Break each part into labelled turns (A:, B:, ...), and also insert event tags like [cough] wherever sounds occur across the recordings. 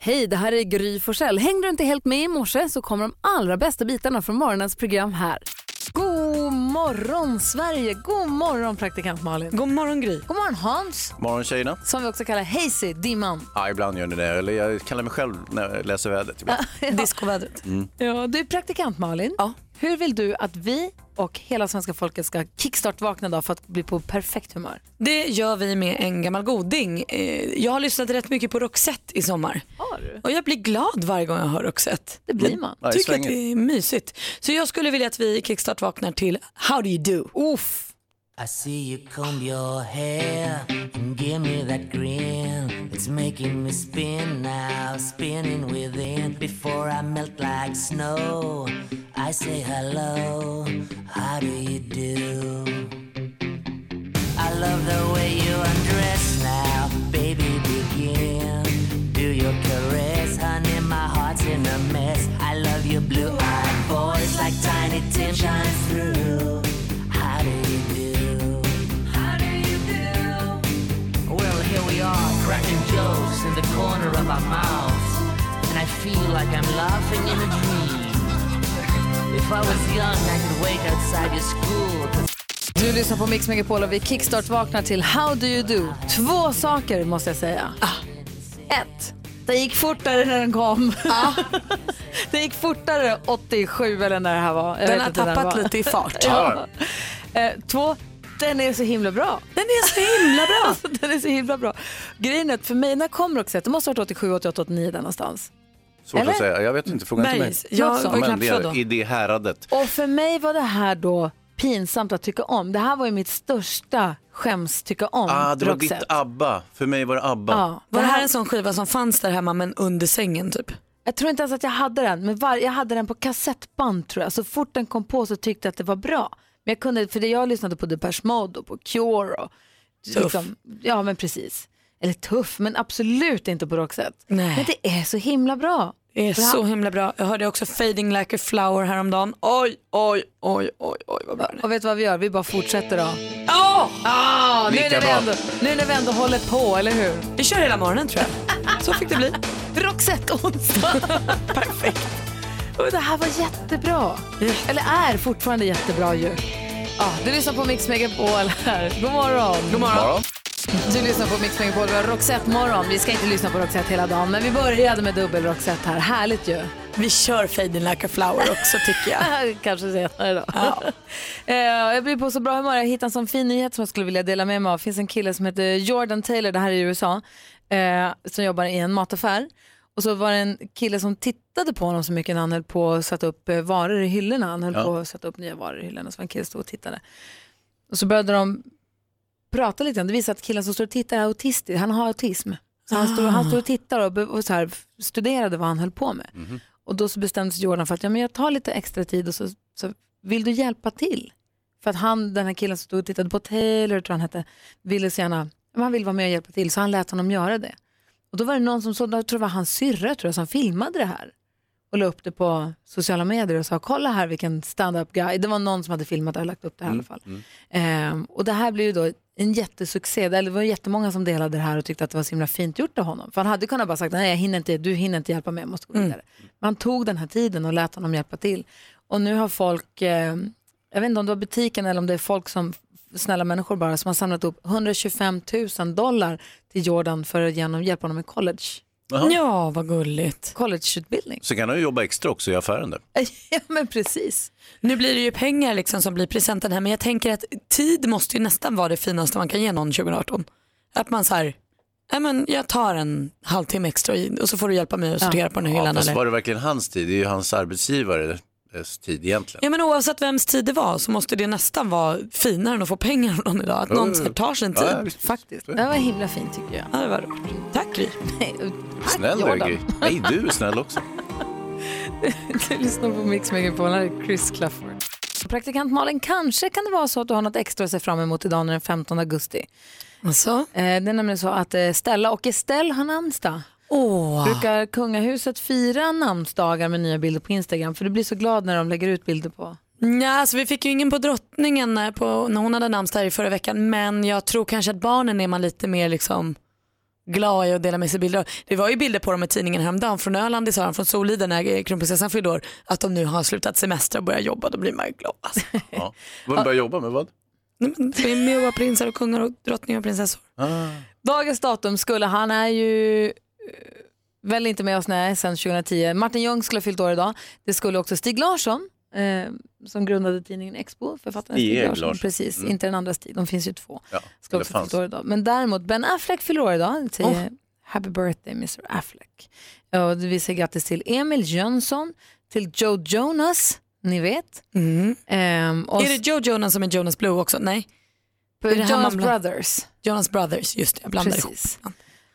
A: Hej, det här är Gry Forssell. Hängde du inte helt med i morse så kommer de allra bästa bitarna från morgonens program här. God morgon Sverige! God morgon praktikant Malin!
B: God morgon Gry!
A: God morgon Hans!
C: Morgon tjejerna.
A: Som vi också kallar Hazy, Dimman.
B: [laughs]
C: Ja, ibland gör ni det. Eller jag kallar mig själv när jag läser vädret. ibland. Mm.
B: Diskovädret.
A: Ja, du är praktikant Malin.
B: Ja.
A: Hur vill du att vi och hela svenska folket ska kickstart-vakna då för att bli på perfekt humör?
B: Det gör vi med en gammal goding. Eh, Jag har lyssnat rätt mycket på Roxette i sommar.
A: Har du?
B: Och jag blir glad varje gång jag hör Roxette.
A: Det blir man.
C: Ja, i
B: Tycker att
C: svängen.
B: det är mysigt. Så jag skulle vilja att vi kickstart vaknar till How do you do?
A: Uff.
D: I see you comb your hair and give me that grin. It's making me spin now, spinning within. Before I melt like snow, I say hello. How do you do? I love the way you undress now, baby. Begin. Do your caress, honey. My heart's in a mess. I love your blue-eyed voice, like Tiny Tim shines through. How do you do? How do you do? Well, here we are, cracking jokes in the corner of our mouths, and I feel like I'm laughing in a dream. If I was young, I could wait outside your school. 'cause
A: Du lyssnar på Mix Megapol och vi kickstart-vaknar till How Do You Do. Två saker måste jag säga.
B: Ah.
A: Ett, det gick fortare när den kom.
B: Ah.
A: [laughs] det gick fortare 87 eller när det här var.
B: Den
A: Jag vet
B: har
A: inte när det
B: tappat
A: var.
B: lite i fart.
A: Ja. Eh, två, den är så himla bra.
B: Den är så himla bra.
A: [laughs] Alltså, den är så himla bra. Grejen är att för mig, när kom Roxette? Det måste ha varit 87, 88, 89 där någonstans.
C: Svårt
A: Eller?
C: att säga. Jag vet inte. Fråga inte mig.
B: Bergs. Jag
A: Något sånt.
B: var ju
C: Men
B: knappt
C: det
B: född då.
C: är i det häradet.
A: Och för mig var det här då pinsamt att tycka om. Det här var ju mitt största skäms tycka om
C: Ah, det var ditt
A: Roxette.
C: ABBA. För mig var det ABBA.
A: Ja,
B: Var det här en sån skiva som fanns där hemma men under sängen typ?
A: Jag tror inte ens att jag hade den, men var, jag hade den på kassettband tror jag. Så fort den kom på så tyckte jag att det var bra. Men jag kunde, för det jag lyssnade på Depeche Mode och på Cure och liksom,
B: Tuff.
A: ja men precis. Eller tuff, men absolut inte på Roxette.
B: Nej.
A: Men det är så himla bra.
B: Det är
A: Bra.
B: så himla bra. Jag hörde också Fading Like a Flower häromdagen. Oj, oj, oj, oj, oj vad bra den är.
A: Och vet du vad vi gör? Vi bara fortsätter då.
B: Åh!
A: Ah, nu,
C: Lika
A: när vi
C: bra.
A: ändå, nu när vi ändå håller på, eller hur?
B: Vi kör hela morgonen tror
A: [laughs]
B: jag. Så fick det bli.
A: Roxette onsdag. [laughs] Perfekt. Och det här var jättebra. Eller är fortfarande jättebra ju. Ah, du lyssnar på Mix Megapol här. God morgon. God
C: Morgon.
A: Du lyssnar på Mix Megapol, vi har Roxette morgon. Vi ska inte lyssna på Roxette hela dagen, men vi började med dubbel Roxette här. Härligt ju.
B: Vi kör Fading Like a Flower också tycker jag.
A: [laughs] Kanske senare då. [laughs] Eh, jag blir på så bra humör. Jag hittade en sån fin nyhet som jag skulle vilja dela med mig av. Det finns en kille som heter Jordan Taylor, det här är i USA, eh, som jobbar i en mataffär. Och så var det en kille som tittade på honom så mycket när han höll på att sätta upp eh, varor i hyllorna. Han höll
C: Ja.
A: på att sätta upp nya varor i hyllorna, så var en kille som stod och tittade. Och så började de prata lite. Det visar att killen som står och tittar är autistisk. Han har autism. Så han, stod, han stod och tittade och, be- och så här studerade vad han höll på med. Och då så bestämde sig Jordan för att ja, men jag tar lite extra tid och så, så vill du hjälpa till? För att han, den här killen som stod och tittade på Taylor, tror han hette, ville så gärna, men han vill vara med och hjälpa till så han lät honom göra det. Och då var det någon som såg, jag tror det var hans syrra tror jag, som filmade det här och la upp det på sociala medier och sa kolla här vilken stand-up guy. Det var någon som hade filmat det och lagt upp det här i alla fall. Ehm, och det här blev ju då en jättesuccé. Eller det var jättemånga som delade det här och tyckte att det var så himla fint gjort av honom. För han hade kunnat bara sagt nej jag hinner inte, du hinner inte hjälpa mig, jag måste gå
C: Mm.
A: vidare. Men han tog den här tiden och lät honom hjälpa till. Och nu har folk, eh, jag vet inte om det var butiken eller om det är folk som, snälla människor bara, som har samlat upp 125 000 dollar till Jordan för att genom, hjälpa honom med college,
C: Jaha.
B: Ja, vad gulligt.
A: collegeutbildning.
C: Så kan du jobba extra också i affären där.
A: [laughs] ja men precis.
B: Nu blir det ju pengar liksom som blir presenten här men jag tänker att tid måste ju nästan vara det finaste man kan ge någon 2018. Att man så här, "Nej, men jag tar en halvtimme extra i- och så får du hjälpa mig att sortera på den här
C: Ja,
B: hyllan.
C: fast
B: eller?
C: var det verkligen hans tid? Det är ju hans arbetsgivares tid egentligen.
B: Ja, men oavsett vems tid det var så måste det nästan vara finare än att få pengar [laughs] av någon idag. Att någon så här tar sin tid.
C: Ja, visst.
A: Faktiskt. Det var himla fint tycker jag. [laughs]
B: Ja, det var roligt. Tack Gry.
C: Snäll du
A: Jordan.
C: Gry. Nej, du är snäll också.
A: [laughs] Du lyssnar på Mix Megapol, här är Chris Clafford. Praktikant Malin, kanske kan det vara så att du har något extra att se fram emot idag när den 15 augusti.
B: Alltså,
A: Eh, det är nämligen så att eh, Stella och Estelle har namnsdag.
B: åh.
A: Brukar kungahuset fira namnsdagar med nya bilder på Instagram? För du blir så glad när de lägger ut bilder på.
B: Ja, alltså, vi fick ju ingen på drottningen eh, när, på, när hon hade namnsdag här i förra veckan men jag tror kanske att barnen är man lite mer liksom glad jag är att dela med sig bilder. Det var ju bilder på dem i tidningen häromdagen från Öland, sa han, från Soliden när kronprinsessan fyllde år, att de nu har slutat semester och börjar jobba. Då blir man ju glad. Alltså.
C: Ja. Vad börjar jobba med vad?
B: [laughs] Nej, men Vi är med och var prinsar och kungar och drottningar och prinsessor.
C: Ah.
A: Dagens datum skulle, han är ju eh, väl inte med oss nej, sedan 2010. Martin Ljung skulle ha fyllt år idag. Det skulle också Stig Larsson eh, som grundade tidningen Expo, författaren Stig,
C: Stig
A: Larsson.
C: Larsson.
A: Precis,
C: Mm.
A: inte den andra Stig, de finns ju två.
C: Ja,
A: Skulle
C: det
A: också ha
C: fanns.
A: fyllt år idag. Men däremot Ben Affleck fyller år idag. Säger
B: Oh.
A: Happy birthday Mr Affleck. Ja, Och vi säger grattis till Emil Jönsson, till Joe Jonas, ni vet. Ehm, och
B: Är det Joe Jonas Mm. som är Jonas Blue också? Nej,
A: på
B: är det han
A: Jonas
B: man bland-
A: Brothers.
B: Jonas Brothers, just det, jag blandar ihop.
A: Precis.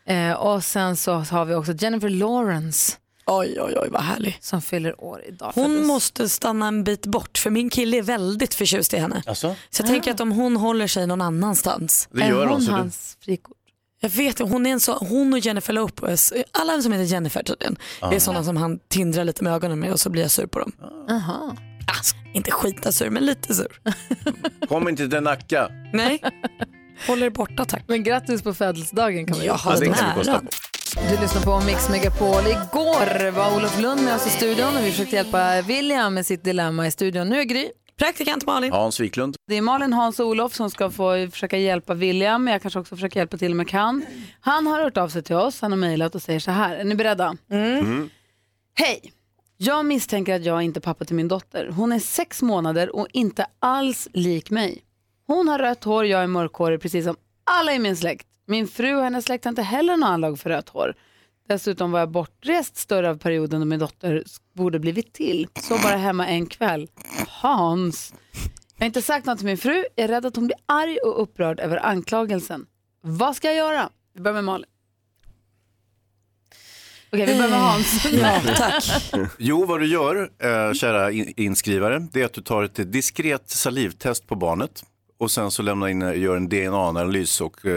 A: Eh, och sen så har vi också Jennifer Lawrence
B: Oj, oj, oj vad härlig.
A: som fyller år idag.
B: Hon
A: Föddes-
B: måste stanna en bit bort för min kille är väldigt förtjust i henne.
C: Alltså?
B: Så jag tänker att om hon håller sig någon annanstans.
C: Det
A: är
C: gör
A: hon
C: hon. Så du...
A: hans frikort?
B: Jag vet hon är en så, hon och Jennifer Lopez, alla som heter Jennifer tydligen, det är sådana som han tindrar lite med ögonen med och så blir jag sur på dem.
A: Aha.
B: Alltså, inte skita sur men lite sur.
C: Kom inte till Nacka.
A: [laughs]
B: Nej, håller borta tack.
A: Men grattis på födelsedagen kan vi
B: Jag har
C: Ja, det
B: den
C: kan vi kosta
B: äran.
C: på.
A: Du lyssnar på Mix Megapol. Igår var Olof Lund med oss i studion och vi försökte hjälpa William med sitt dilemma i studion. Nu är Gry.
B: Praktikant Malin.
C: Hans Wiklund.
A: Det är Malin, Hans och Olof som ska få försöka hjälpa William. Jag kanske också försöker hjälpa till om jag kan. Han har hört av sig till oss, han har mejlat och säger så här. Är ni beredda?
E: Mm.
A: Mm. Hej! Jag misstänker att jag inte är pappa till min dotter. Hon är sex månader och inte alls lik mig. Hon har rött hår, jag är mörkhårig precis som alla i min släkt. Min fru och hennes släkt har inte heller någon anlag för rött hår. Dessutom var jag bortrest större av perioden då min dotter borde blivit till. Så bara hemma en kväll. Hans. Jag har inte sagt något till min fru. Jag är rädd att hon blir arg och upprörd över anklagelsen. Vad ska jag göra? Vi börjar med Malin. Okej, vi börjar med Hans.
B: Ja,
A: [laughs]
B: tack.
C: Jo, vad du gör, eh, kära in- inskrivare, det är att du tar ett diskret salivtest på barnet och sen så lämnar in, eh, gör en DNA-analys och eh,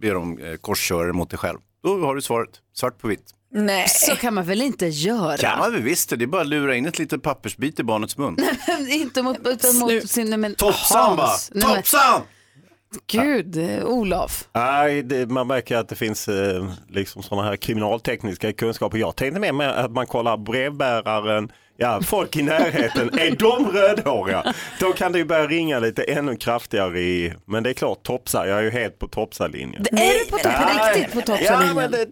C: ber dem eh, korsköra det mot dig själv. Då har du svaret, svart på vitt.
B: Nej.
A: Så kan man väl inte göra?
C: Kan man väl visst det, det är bara att lura in ett litet pappersbit i barnets mun.
A: [laughs] inte mot, utan
B: Slut.
A: mot sin... Nej, men
C: Topsan va?
A: Hans. Nej, men,
C: Topsan!
A: Gud, eh, Olof.
F: Nej, det, man märker att det finns eh, liksom sådana här kriminaltekniska kunskaper. Jag tänkte mer med att man kollar brevbäraren, ja folk i närheten, är de rödhåriga? Då kan det ju börja ringa lite ännu kraftigare i, men det är klart topsar, jag är ju helt på topsarlinjen.
A: Är du på, topp- på
F: Nej.
A: riktigt på
F: Ja, men
A: toppslinjen?
F: det,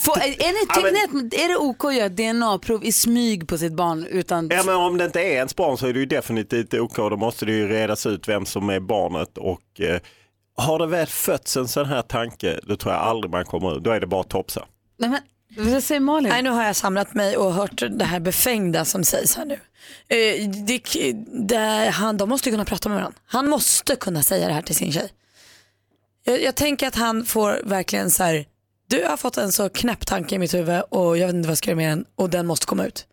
A: Får- är, är, ni- tycker ni att- är det OK att göra ett DNA-prov i smyg på sitt barn utan...
F: ja, men om det inte är ens barn så är det ju definitivt OK, då måste det ju redas ut vem som är barnet och eh, har det väl fötts en sån här tanke, då tror jag aldrig man kommer ur, då är det bara topsar.
A: Nej, men, vad säger Malin?
B: Nej, nu har jag samlat mig och hört det här befängda som sägs här nu. Eh, det, det, han, de måste ju kunna prata med varandra. Han måste kunna säga det här till sin tjej. Jag, jag tänker att han får verkligen så här, du har fått en så knäpp tanke i mitt huvud och jag vet inte vad jag ska göra med den och den måste komma ut.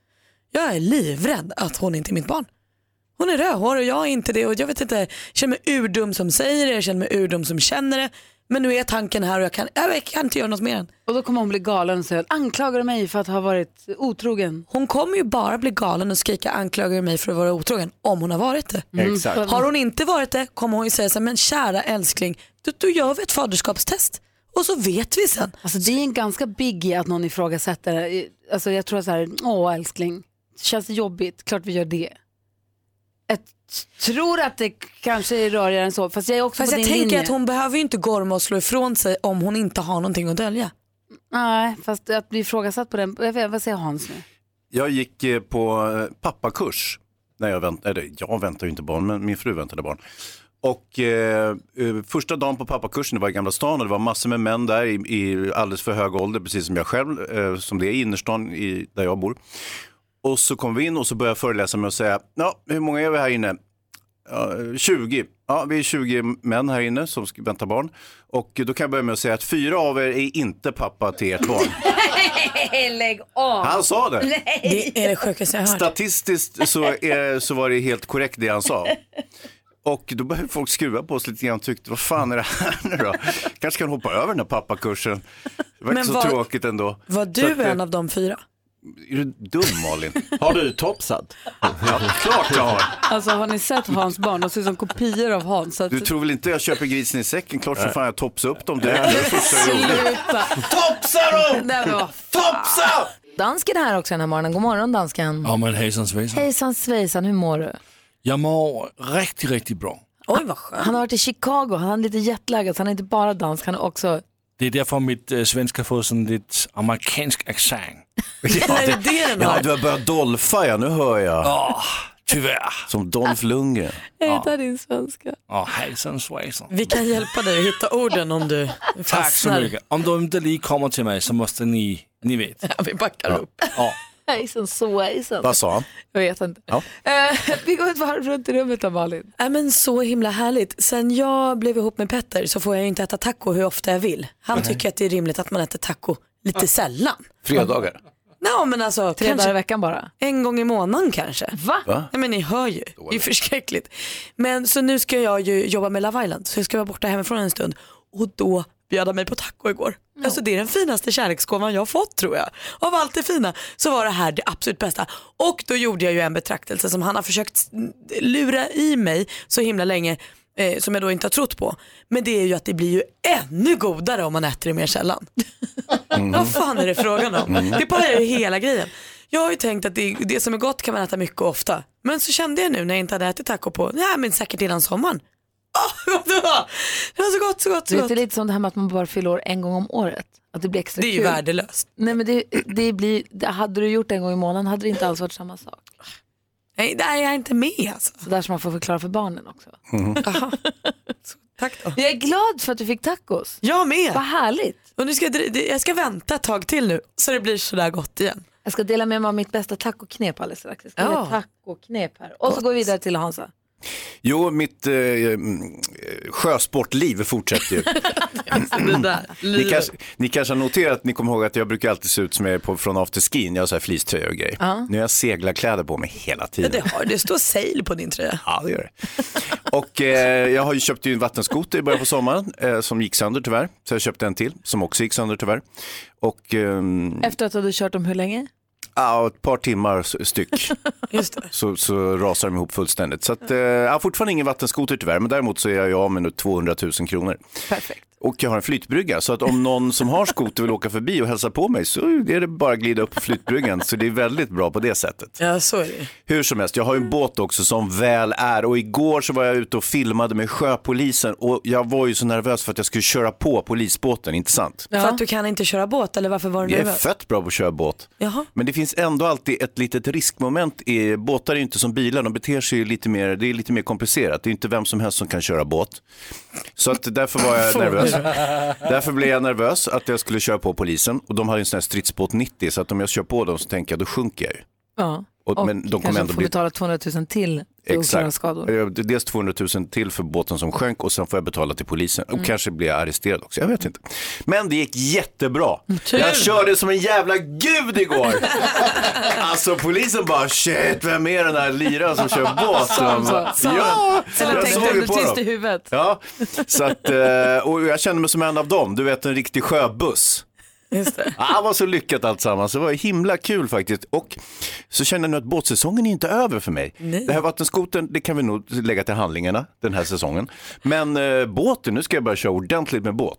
B: Jag är livrädd att hon inte är mitt barn. Hon är rödhårig och jag är inte det och jag vet inte, jag känner mig urdum som säger det, jag känner mig urdum som känner det. Men nu är tanken här och jag kan, jag kan inte göra något med den.
A: Och då kommer hon bli galen och säga, anklagar du mig för att ha varit otrogen?
B: Hon kommer ju bara bli galen och skrika anklagar mig för att vara otrogen om hon har varit det.
C: Mm.
F: Exakt.
A: så-
B: Har hon inte varit det kommer hon ju säga så här, men kära älskling, då, då gör vi ett faderskapstest och så vet vi sen.
A: Alltså det är en ganska biggie att någon ifrågasätter. det. Alltså jag tror så här, åh älskling, känns det jobbigt, klart vi gör det. Jag t- tror att det kanske är rörigare än så, fast jag är också
B: Fast
A: på
B: jag
A: din
B: tänker
A: linje.
B: att hon behöver ju inte gorma och slå ifrån sig om hon inte har någonting att dölja.
A: Nej, fast att bli ifrågasatt på den, jag vet, vad säger Hans nu?
C: Jag gick eh, på eh, pappakurs. När jag, vänt, eller, jag väntar ju inte barn, men min fru väntade barn. Och eh, eh, första dagen på pappakursen, det var i Gamla stan och det var massor med män där i, i alldeles för hög ålder, precis som jag själv, eh, som det är i innerstan i, där jag bor. Och så kom vi in och så började jag föreläsa med att säga, ja, hur många är vi här inne? Ja, eh, 20. Ja, vi är 20 män här inne som ska vänta barn. Och eh, då kan jag börja med att säga att fyra av er är inte pappa till ert barn.
A: Lägg av!
C: Han sa det.
B: Det är det [laughs] sjukaste jag har hört.
C: Statistiskt så, är, så var det helt korrekt det han sa. Och då började folk skruva på oss lite grann och tyckte, vad fan är det här nu då? Kanske kan hoppa över den här pappakursen. Det var
B: Men
C: inte så
B: vad-
C: tråkigt ändå.
B: Var
C: Så att,
B: du
C: eh,
B: en av de fyra?
C: Är du dum Malin?
F: Har du topsat?
C: Ja, klart jag har.
G: Alltså har ni sett Hans barn? De ser ut som kopior av Hans. Så att,
C: Du tror väl inte jag köper grisen i säcken? Klart som fan jag topsar upp dem. Det är det första jag gjorde.
G: sluta!
C: Topsa dem!
G: Nej, men vad
C: Topsa!
A: Dansken är här också den här morgonen. God morgon dansken.
H: Ja men hejsan svejsan.
A: Hejsan svejsan, hur mår du?
H: Jag mår riktigt, riktigt bra.
G: Oj vad skönt.
A: Han har varit i Chicago, han är lite jetlaggad så han är inte bara dansk, han är också...
H: Det är därför mitt äh, svenska får sån lite amerikansk accent.
C: Ja,
B: Är det det den
C: ja,
B: har?
C: du har börjat dolfa ja, nu hör jag.
H: Åh, tyvärr.
C: Som Dolph Lundgren.
G: Jag hittar din svenska.
H: Åh, hejsan svejsan.
B: Vi kan hjälpa dig att hitta orden om du
H: Tack så
B: fastnar.
H: mycket. Om de inte lige kommer till mig så måste ni, ni vet.
B: Ja, vi backar upp.
H: Ja.
A: Hejsan svejsan.
C: Vad sa han?
A: Jag vet inte.
C: Ja.
A: Eh, vi går ett varv runt i rummet
B: [laughs]
A: då Malin.
B: Nej, Äh, men så himla härligt. Sen jag blev ihop med Petter så får jag ju inte äta taco hur ofta jag vill. Han tycker att det är rimligt att man äter taco lite sällan.
C: Fredagar.
B: Nej men alltså
A: Tre dagar i
B: kanske
A: veckan bara.
B: en gång i månaden kanske.
A: Va?
B: Nej men ni hör ju, det är ju förskräckligt. Men så nu ska jag ju jobba med Love Island så jag ska vara borta hemifrån en stund och då bjöd han mig på taco igår. Alltså det är den finaste kärleksgåvan jag har fått tror jag. Av allt det fina så var det här det absolut bästa. Och då gjorde jag ju en betraktelse som han har försökt lura i mig så himla länge eh, som jag då inte har trott på. Men det är ju att det blir ju ännu godare om man äter det mer sällan.
A: Mm.
B: Vad fan är det frågan om? Det pajar ju hela grejen. Jag har ju tänkt att det, det som är gott kan man äta mycket och ofta. Men så kände jag nu när jag inte hade ätit taco på, nej men säkert innan sommaren. Åh, det, var, det var så gott, så gott, så
A: Vet,
B: gott.
A: det är lite som det här med att man bara fyller år en gång om året. Att det blir extra
B: Det är ju
A: kul.
B: värdelöst.
A: Nej, men det, det blir, det, hade du gjort det en gång i månaden hade det inte alls varit samma sak.
B: Nej, där är jag inte med alltså.
A: Så där som man får förklara för barnen också.
B: Tack då.
A: Jag är glad för att du fick tacos.
B: Jag
A: Vad
B: med.
A: härligt.
B: Och nu ska jag, dri- det- jag ska vänta ett tag till nu så det blir sådär gott igen.
A: Jag ska dela med mig av mitt bästa tacoknep alldeles strax. Jag ska
B: Ja.
A: ge tacoknep här. Och så går vi vidare till Hansa.
C: Jo, mitt eh, mm, eh,
B: [laughs]
C: sjösportliv fortsätter ju.
B: Det där,
C: Ni
B: livet.
C: kanske, ni kanske har noterat, att ni kommer ihåg att jag brukar alltid se ut som jag är på, från afterskin, jag har så här fleecetröja och grejer. Nu har jag seglarkläder på mig hela tiden.
B: det, har, det står sail på din tröja.
C: Ja, det gör det. Och eh, jag har ju köpt ju en vattenskoter i början på sommaren eh, som gick sönder tyvärr. Så jag köpte en till som också gick sönder tyvärr. Och ehm,
A: Efter att du hade kört dem hur länge?
C: ja, ett par timmar s- styck
B: [laughs] Just det.
C: så, så rasar de ihop fullständigt. Så att, eh, jag har fortfarande ingen vattenskoter tyvärr, men däremot så är jag ju av med nu 200 000 kronor.
A: Perfekt.
C: Och jag har en flytbrygga, så att om någon som har skoter vill åka förbi och hälsa på mig så är det bara att glida upp på flytbryggan. Så det är väldigt bra på det sättet.
B: Ja så är det
C: Hur som helst, jag har ju en båt också som väl är och igår så var jag ute och filmade med sjöpolisen och jag var ju så nervös för att jag skulle köra på polisbåten, inte sant?
B: För att du kan inte köra båt eller varför var du
C: Jag är
B: nervös?
C: fett bra på att köra båt.
B: Jaha.
C: Men det finns ändå alltid ett litet riskmoment. I, båtar är ju inte som bilar, de beter sig ju lite mer, det är lite mer komplicerat. Det är ju inte vem som helst som kan köra båt. Så att därför
B: [laughs]
C: var [laughs] jag nervös. Därför blev jag nervös att jag skulle köra på polisen och de hade ju en sån här stridsbåt 90 så att om jag kör på dem så tänker jag då sjunker jag ju.
A: Ja.
C: Och- men de kommer
A: kanske
C: ändå
A: får
C: bli-
A: betala 200 000 till för oklara skador.
C: Eh, Dels 200 000 till för båten som sjönk och sen får jag betala till polisen.
A: Mm.
C: Och kanske blir jag arresterad också, jag vet inte. Men det gick jättebra.
A: Mm,
C: Jag körde som en jävla gud
A: [laughs]
C: igår. alltså polisen bara shit, vem är den där liraren som kör båt? Och de bara, ja,
A: Eller
C: jag såg
A: tänkte du
C: ju på
A: tyst i
C: dem.
A: huvudet?
C: [laughs] Ja, så att, eh, och jag kände mig som en av dem, du vet en riktig sjöbuss.
B: Just det.
C: Ah, det var så lyckat alltsammans, det var himla kul faktiskt. Och så känner jag nu att båtsäsongen är inte över för mig. Det här vattenskoten, det kan vi nog lägga till handlingarna den här säsongen. Men eh, båten, nu ska jag börja köra ordentligt med båt.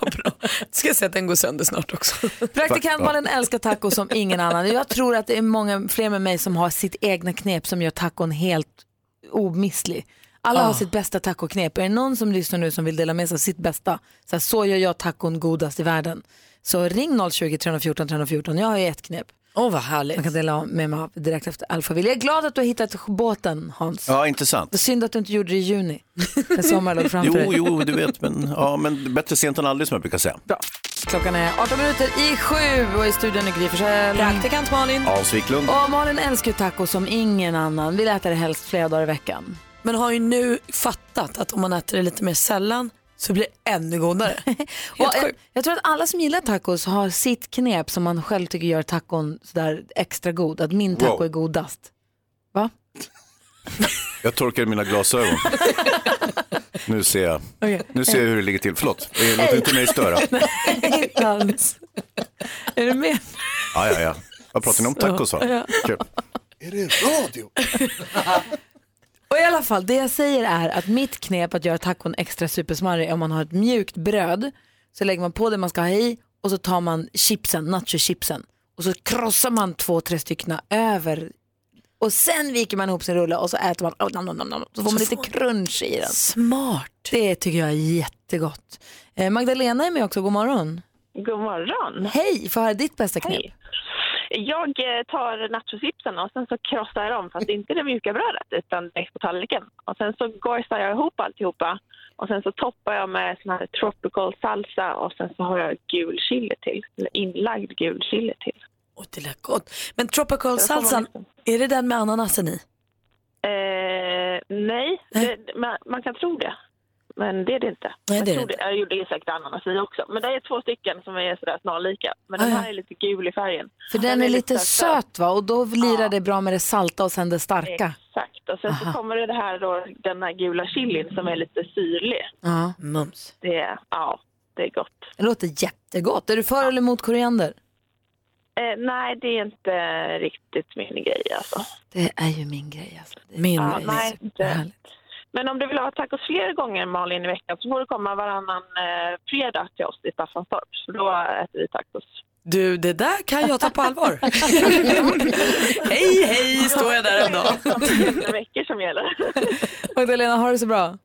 B: Vad bra. Ska jag se att den går sönder snart också.
A: Praktikant Malin älskar taco som ingen annan. Jag tror att det är många fler med mig som har sitt egna knep som gör tacon helt omisslig. Alla
B: Ah.
A: har sitt bästa tacoknep. Är det någon som lyssnar nu som vill dela med sig av sitt bästa, så, här, så gör jag tacon godast i världen. Så ring 020-314 314. Jag har ju ett knep.
B: Åh vad
A: Man
B: härligt.
A: kan dela med mig av direkt efter Alphaville. Jag är glad att du har hittat båten Hans.
C: Ja, intressant.
A: Vad Synd att du inte gjorde det i juni, när sommaren låg framför
C: Jo,
A: dig.
C: jo, du vet, men, ja, men bättre sent än aldrig som jag brukar säga.
A: Klockan är 18 minuter i sju och i studion är Gry Forssell.
B: Praktikant Malin.
C: Hans Wiklund.
A: Och Malin älskar ju tacos som ingen annan. Vill äta det helst flera dagar i veckan.
B: Men har ju nu fattat att om man äter det lite mer sällan så blir det ännu [laughs] godare.
A: Och
B: Helt
A: jag,
B: sjukt.
A: jag tror att alla som gillar tacos har sitt knep som man själv tycker gör tacon sådär extra god. Att min taco
C: Wow.
A: är godast. Va?
C: Jag torkade mina glasögon.
A: [laughs]
C: nu ser jag. Nu ser jag hur det ligger till. Förlåt, eh,
I: [laughs]
C: låt inte mig störa.
A: Inte alls. är du med?
C: Ja, ja, ja. Vad pratar ni om? Tacos va?
B: Ja.
C: Kul.
J: Är det radio?
A: [laughs] Och i alla fall, det jag säger är att mitt knep att göra tacon extra supersmarrig är om man har ett mjukt bröd så lägger man på det man ska ha i och så tar man chipsen, nachochipsen och så krossar man två, tre stycken över och sen viker man ihop sin rulle och så äter man, oh, nam, nam, nam, nam. så får man lite crunch i den.
B: Smart.
A: Det tycker jag är jättegott. Eh, Magdalena är med också, god morgon.
K: God morgon.
A: Hej, få höra ditt bästa knep.
K: Mm. Hej. Jag eh, tar nachosipsen och sen så krossar jag dem, fast inte det mjuka brödet utan direkt på tallriken. Och sen så gojsar jag ihop alltihopa och sen så toppar jag med sån här tropical salsa och sen så har jag gul chili till, eller inlagd gul chili till.
B: Åh, det lät gott. Men tropical
K: Sen får man
B: salsan,
K: liksom-
B: är det den med ananasen i?
K: Eh, nej, det, man, man kan tro det. Men det är det inte.
B: Nej, det är
K: jag, tror
B: det inte.
K: jag gjorde ju säkert ananas i också. Men det är två stycken som är sådär snarlika. Men
B: Ah,
K: den
B: ja.
K: här är lite gul i färgen.
A: För den är lite söt va och då lirar det bra med det salta och sen det starka.
K: Exakt. Och sen
A: Aha.
K: så kommer det här då, den här gula chilin som är lite syrlig.
A: Ja.
B: Mums.
K: Det är, ja, det är gott.
A: Det låter jättegott. Är du för eller emot koriander?
K: Eh, nej, det är inte riktigt min grej alltså.
A: Det är ju min grej alltså. Det är
B: Min
K: Ja, [laughs] nej, inte.
A: superhärligt.
K: Men om du vill ha tacos fler gånger Malin i veckan så får du komma varannan eh, fredag till oss i Staffanstorp. Så då äter vi tacos.
B: Du, det där kan jag ta på [laughs] allvar. hej, hej, står jag där en
K: [laughs]
B: dag.
K: Det är veckor som gäller.
A: Magdalena, ha det så bra.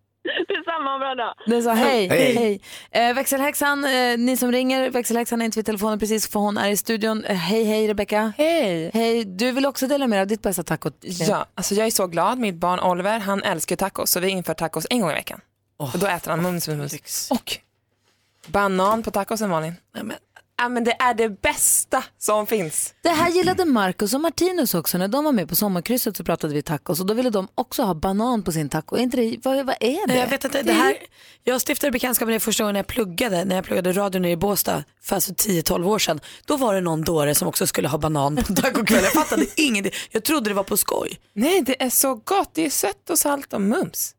K: Detsamma, bra dag.
A: Den sa hej. hej.
C: Hej.
A: Eh, växelhäxan, eh, ni som ringer, växelhäxan är inte vid telefonen precis för hon är i studion. Eh, hej, hej Rebecka.
I: Hej!
A: Hej, du vill också dela med dig av ditt bästa taco.
I: Ja, alltså jag är så glad. Mitt barn Oliver, han älskar ju tacos så vi inför tacos en gång i veckan. och då äter han mums, mums, mums. Och banan på tacosen Malin. Ja, men, ja, men det är det bästa som finns.
A: Det här gillade Marcus och Martinus också. När de var med på sommarkrysset så pratade vi tacos och då ville de också ha banan på sin taco. Är inte det, vad, vad är det?
B: Jag vet inte, det här, jag stiftade bekantskap med det första gången jag pluggade, när jag pluggade radio nere i Båstad för alltså 10-12 år sedan. Då var det någon dåre som också skulle ha banan på tacokväll. Jag fattade [laughs] ingenting. Jag trodde det var på skoj.
I: Nej, det är så gott. Det är sött och salt och mums.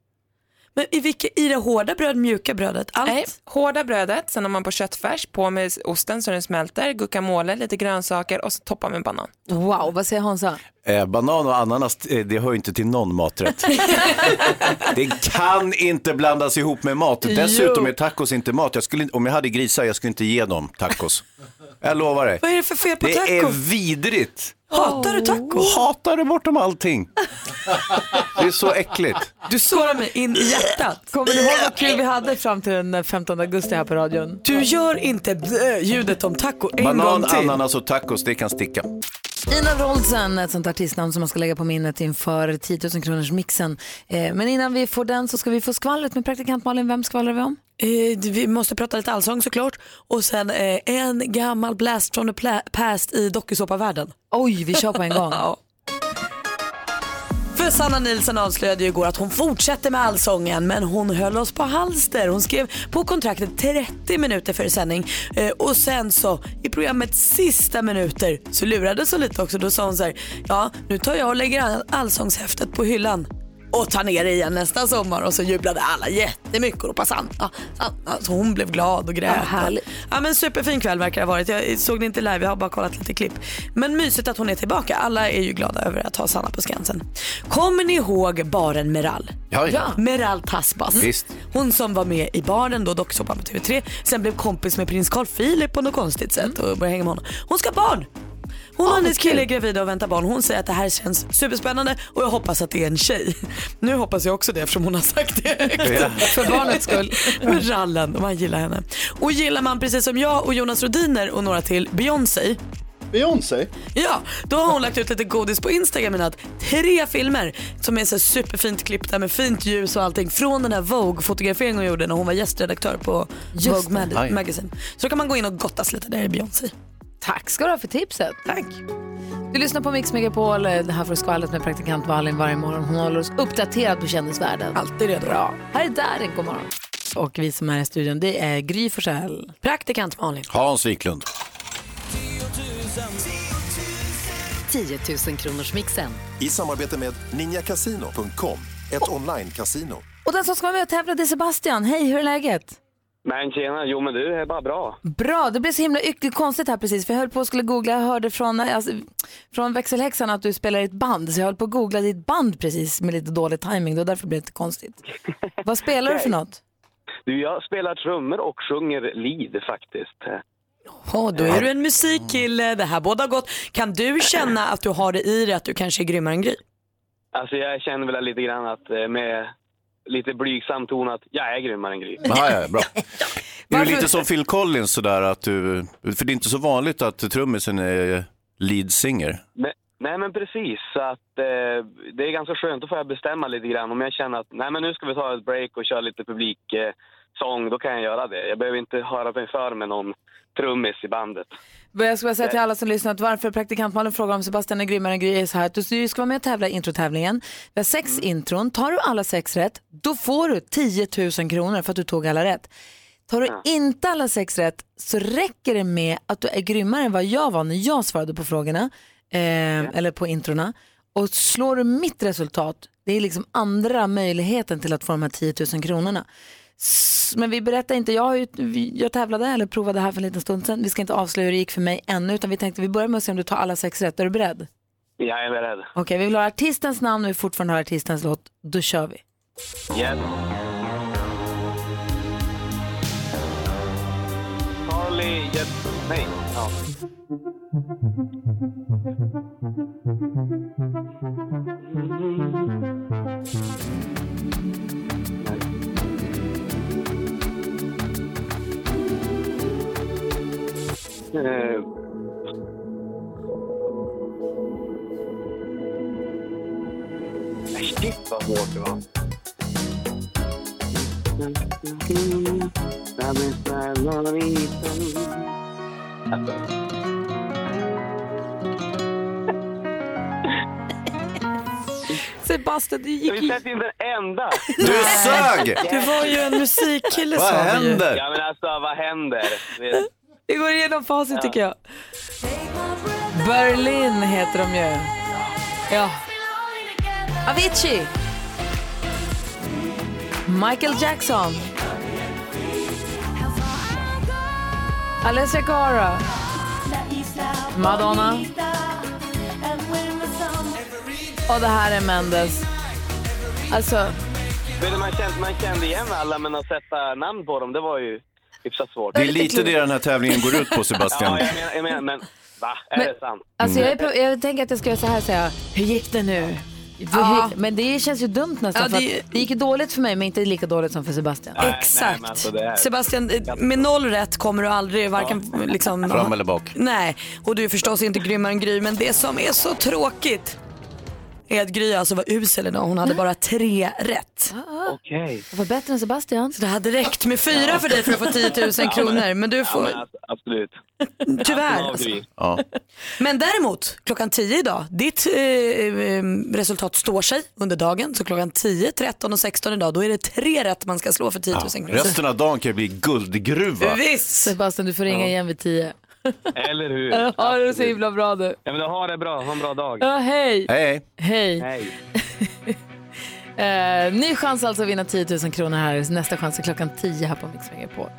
B: Men i, vilka, i det hårda bröd, mjuka brödet, allt?
I: Nej, hårda brödet, sen har man på köttfärs, på med osten så den smälter, guacamole, lite grönsaker och så toppar med banan.
A: Wow, vad säger Hansa?
C: Eh, banan och ananas, eh, det hör ju inte till
B: [laughs]
C: någon maträtt. det kan inte blandas ihop med mat. Dessutom är tacos inte mat. Jag skulle, inte- om jag hade grisar, jag skulle inte ge dem tacos. Jag lovar dig.
B: Vad är det för fel på
C: Det
B: taco?
C: är vidrigt.
B: Hatar du taco?
C: Hatar det bortom allting. Det är så äckligt.
B: Du sårar mig in i hjärtat.
A: Kommer du ihåg vad kul vi hade fram till den 15 augusti här på radion?
B: Du gör inte blö- ljudet om taco en
C: Banan,
B: gång till.
C: ananas och tacos, det kan sticka.
A: Ina Roldsen, ett sånt artistnamn som man ska lägga på minnet inför 10 000 kronors mixen. Eh, men innan vi får den så ska vi få skvallret med praktikant Malin. Vem skvallrar vi om?
B: Eh, vi måste prata lite allsång såklart och sen eh, en gammal blast from the pla- past i dokusåpavärlden.
A: Oj, vi kör på en
B: [laughs]
A: gång.
B: Ja. För Sanna Nilsson avslöjade ju igår att hon fortsätter med allsången men hon höll oss på halster. Hon skrev på kontraktet 30 minuter för sändning eh, och sen så i programmets sista minuter så lurades hon lite också. Då sa hon så här, ja nu tar jag och lägger all- allsångshäftet på hyllan och tar ner det igen nästa sommar och så jublade alla jättemycket och då på Sanna. Sanna. Så hon blev glad och grät.
A: Ja, härligt.
B: Ja men superfin kväll verkar det ha varit. Jag såg det inte live, jag har bara kollat lite klipp. Men mysigt att hon är tillbaka. Alla är ju glada över att ha Sanna på Skansen. Kommer ni ihåg baren Meral?
C: Ja, ja.
B: Meral Tasbas.
C: Visst.
B: Hon som var med i baren då, dokusåpan på TV3. Sen blev kompis med prins Carl Philip på något konstigt sätt och började hänga med honom. Hon ska ha barn! Hon och hennes kille är gravida och väntar barn. Hon säger att det här känns superspännande och jag hoppas att det är en tjej. Nu hoppas jag också det eftersom hon har sagt det högt. För barnets skull. För rallen, man gillar henne. Och gillar man precis som jag och Jonas Rodiner och några till Beyoncé
J: Beyoncé?
B: Ja, då har hon lagt ut lite godis på Instagram i natt. Tre filmer som är så superfint klippta med fint ljus och allting från den här Vogue-fotograferingen hon gjorde när hon var gästredaktör på
A: Just
B: Vogue
A: det.
B: Mag- Magazine. Så då kan man gå in och gottas lite där i Beyoncé.
A: Tack ska du ha för tipset.
B: Tack.
A: Du lyssnar på Mix Megapol. eh, Det här får du skvallret med praktikant Malin varje morgon. Hon håller oss uppdaterad på kändisvärlden.
B: Alltid redo.
A: Bra. Här är Darin, god morgon. Och vi som är i studion, det är Gry Forssell.
B: Praktikant Malin.
C: Hans Wiklund.
L: 10 000 kronors mixen.
J: I samarbete med ninjakasino.com, ett online-casino.
A: Och den som ska vara med och tävla det är Sebastian. Hej, hur är läget?
E: Men tjena, jo men du är bara bra.
A: Bra, det blev så himla yck- konstigt här precis för jag höll på att skulle googla, jag hörde från, alltså, från växelhäxan att du spelar i ett band så jag höll på att googla ditt band precis med lite dålig timing då därför blev det lite konstigt. Vad spelar du för något?
E: Du, jag spelar trummor och sjunger lead faktiskt.
B: Jaha, då är du en musikkille. Det här båda gott. Kan du känna att du har det i dig att du kanske är grymmare än Gry?
E: Alltså jag känner väl lite grann att eh, med lite blygsam ton att jag är grymmare än Gry.
C: Aha, ja,
A: [laughs]
C: bra. Är du lite som Phil Collins sådär att du, för det är inte så vanligt att trummisen är lead singer.
E: Men, nej men precis, så att eh, det är ganska skönt. Då får jag bestämma lite grann. Om jag känner att nej men nu ska vi ta ett break och köra lite publiksång, eh, sång, då kan jag göra det. Jag behöver inte höra mig för med någon trummis i bandet.
A: Men Jag skulle bara säga till alla som lyssnar att varför praktikantmannen frågar om Sebastian är grymmare än Gry är så här att du du ska vara med och tävla i introtävlingen. Vi har sex intron, tar du alla sex rätt då får du 10 000 kronor för att du tog alla rätt. Tar du inte alla sex rätt så räcker det med att du är grymmare än vad jag var när jag svarade på frågorna eh, eller på introna. Och slår du mitt resultat, det är liksom andra möjligheten till att få de här 10 000 kronorna. S- Men vi berättar inte, jag, har ju, vi- jag tävlade eller provade här för en liten stund sedan. Vi ska inte avslöja hur det gick för mig ännu utan vi tänkte vi börjar med att se om du tar alla sex rätt. Är du beredd?
E: Jag är beredd.
A: Okej, vi vill ha artistens namn och vi fortfarande har artistens låt. Då kör vi.
E: Yes. Carly, yes. Nej. Ja. Eh, Äh, Shit vad hårt det var.
A: Sebastian, du gick
E: Vi sätter inte en enda.
C: Du sög!
B: Du var ju en musikkille
C: Vad
B: sa vi ju.
C: händer?
E: Ja men alltså vad händer? Det-
A: Vi går igenom facit
E: Ja.
A: tycker jag. Berlin heter de ju. Ja. Avicii. Michael Jackson. Alessia Cara. Madonna. Och det här är Mendes. Alltså,
E: Vet du, Man kände, man kände igen alla men att sätta namn på dem det var ju hyfsat svårt.
C: Det är lite det den här tävlingen går ut på Sebastian.
E: [laughs] Ja jag menar, jag menar men va? Är det sant?
A: alltså jag, är på, jag tänker att jag ska göra så här och säga, hur gick det nu?
B: Ja.
A: Hur- Men det känns ju dumt nästan,
B: Ja,
A: för
B: det-
A: att det gick ju dåligt för mig men inte lika dåligt som för Sebastian.
B: Exakt.
C: alltså
B: Sebastian, eh, med noll rätt kommer du aldrig varken liksom...
C: Fram eller bak.
B: Nej, och du är förstås inte grymmare än Gry, men det som är så tråkigt är att Gry alltså var usel idag. Hon hade bara tre rätt.
E: Okej.
A: Jag var bättre än Sebastian.
B: Så det hade räckt med fyra för dig för att få 10
E: [laughs]
B: 000 kronor, men du får...
E: Ja, men, alltså, absolut.
B: [laughs] Tyvärr.
E: Alltså.
B: Alltså. Men däremot, klockan 10 idag, ditt eh, eh, resultat står sig under dagen. Så klockan 10, 13 och 16 idag, då är det tre rätt man ska slå för 10 000 kronor.
C: Resten av dagen kan ju bli guldgruva.
A: Sebastian, du får ringa igen vid tio.
E: Eller hur?
A: Ja, det är så himla bra du.
E: Ja, men då har det bra, ha en bra dag.
A: Ja, hej.
C: Hej.
A: Hej.
E: Hej.
A: [laughs] Eh, ny chans alltså att vinna 10 000 kronor här. Nästa chans är klockan 10 här på Mix på.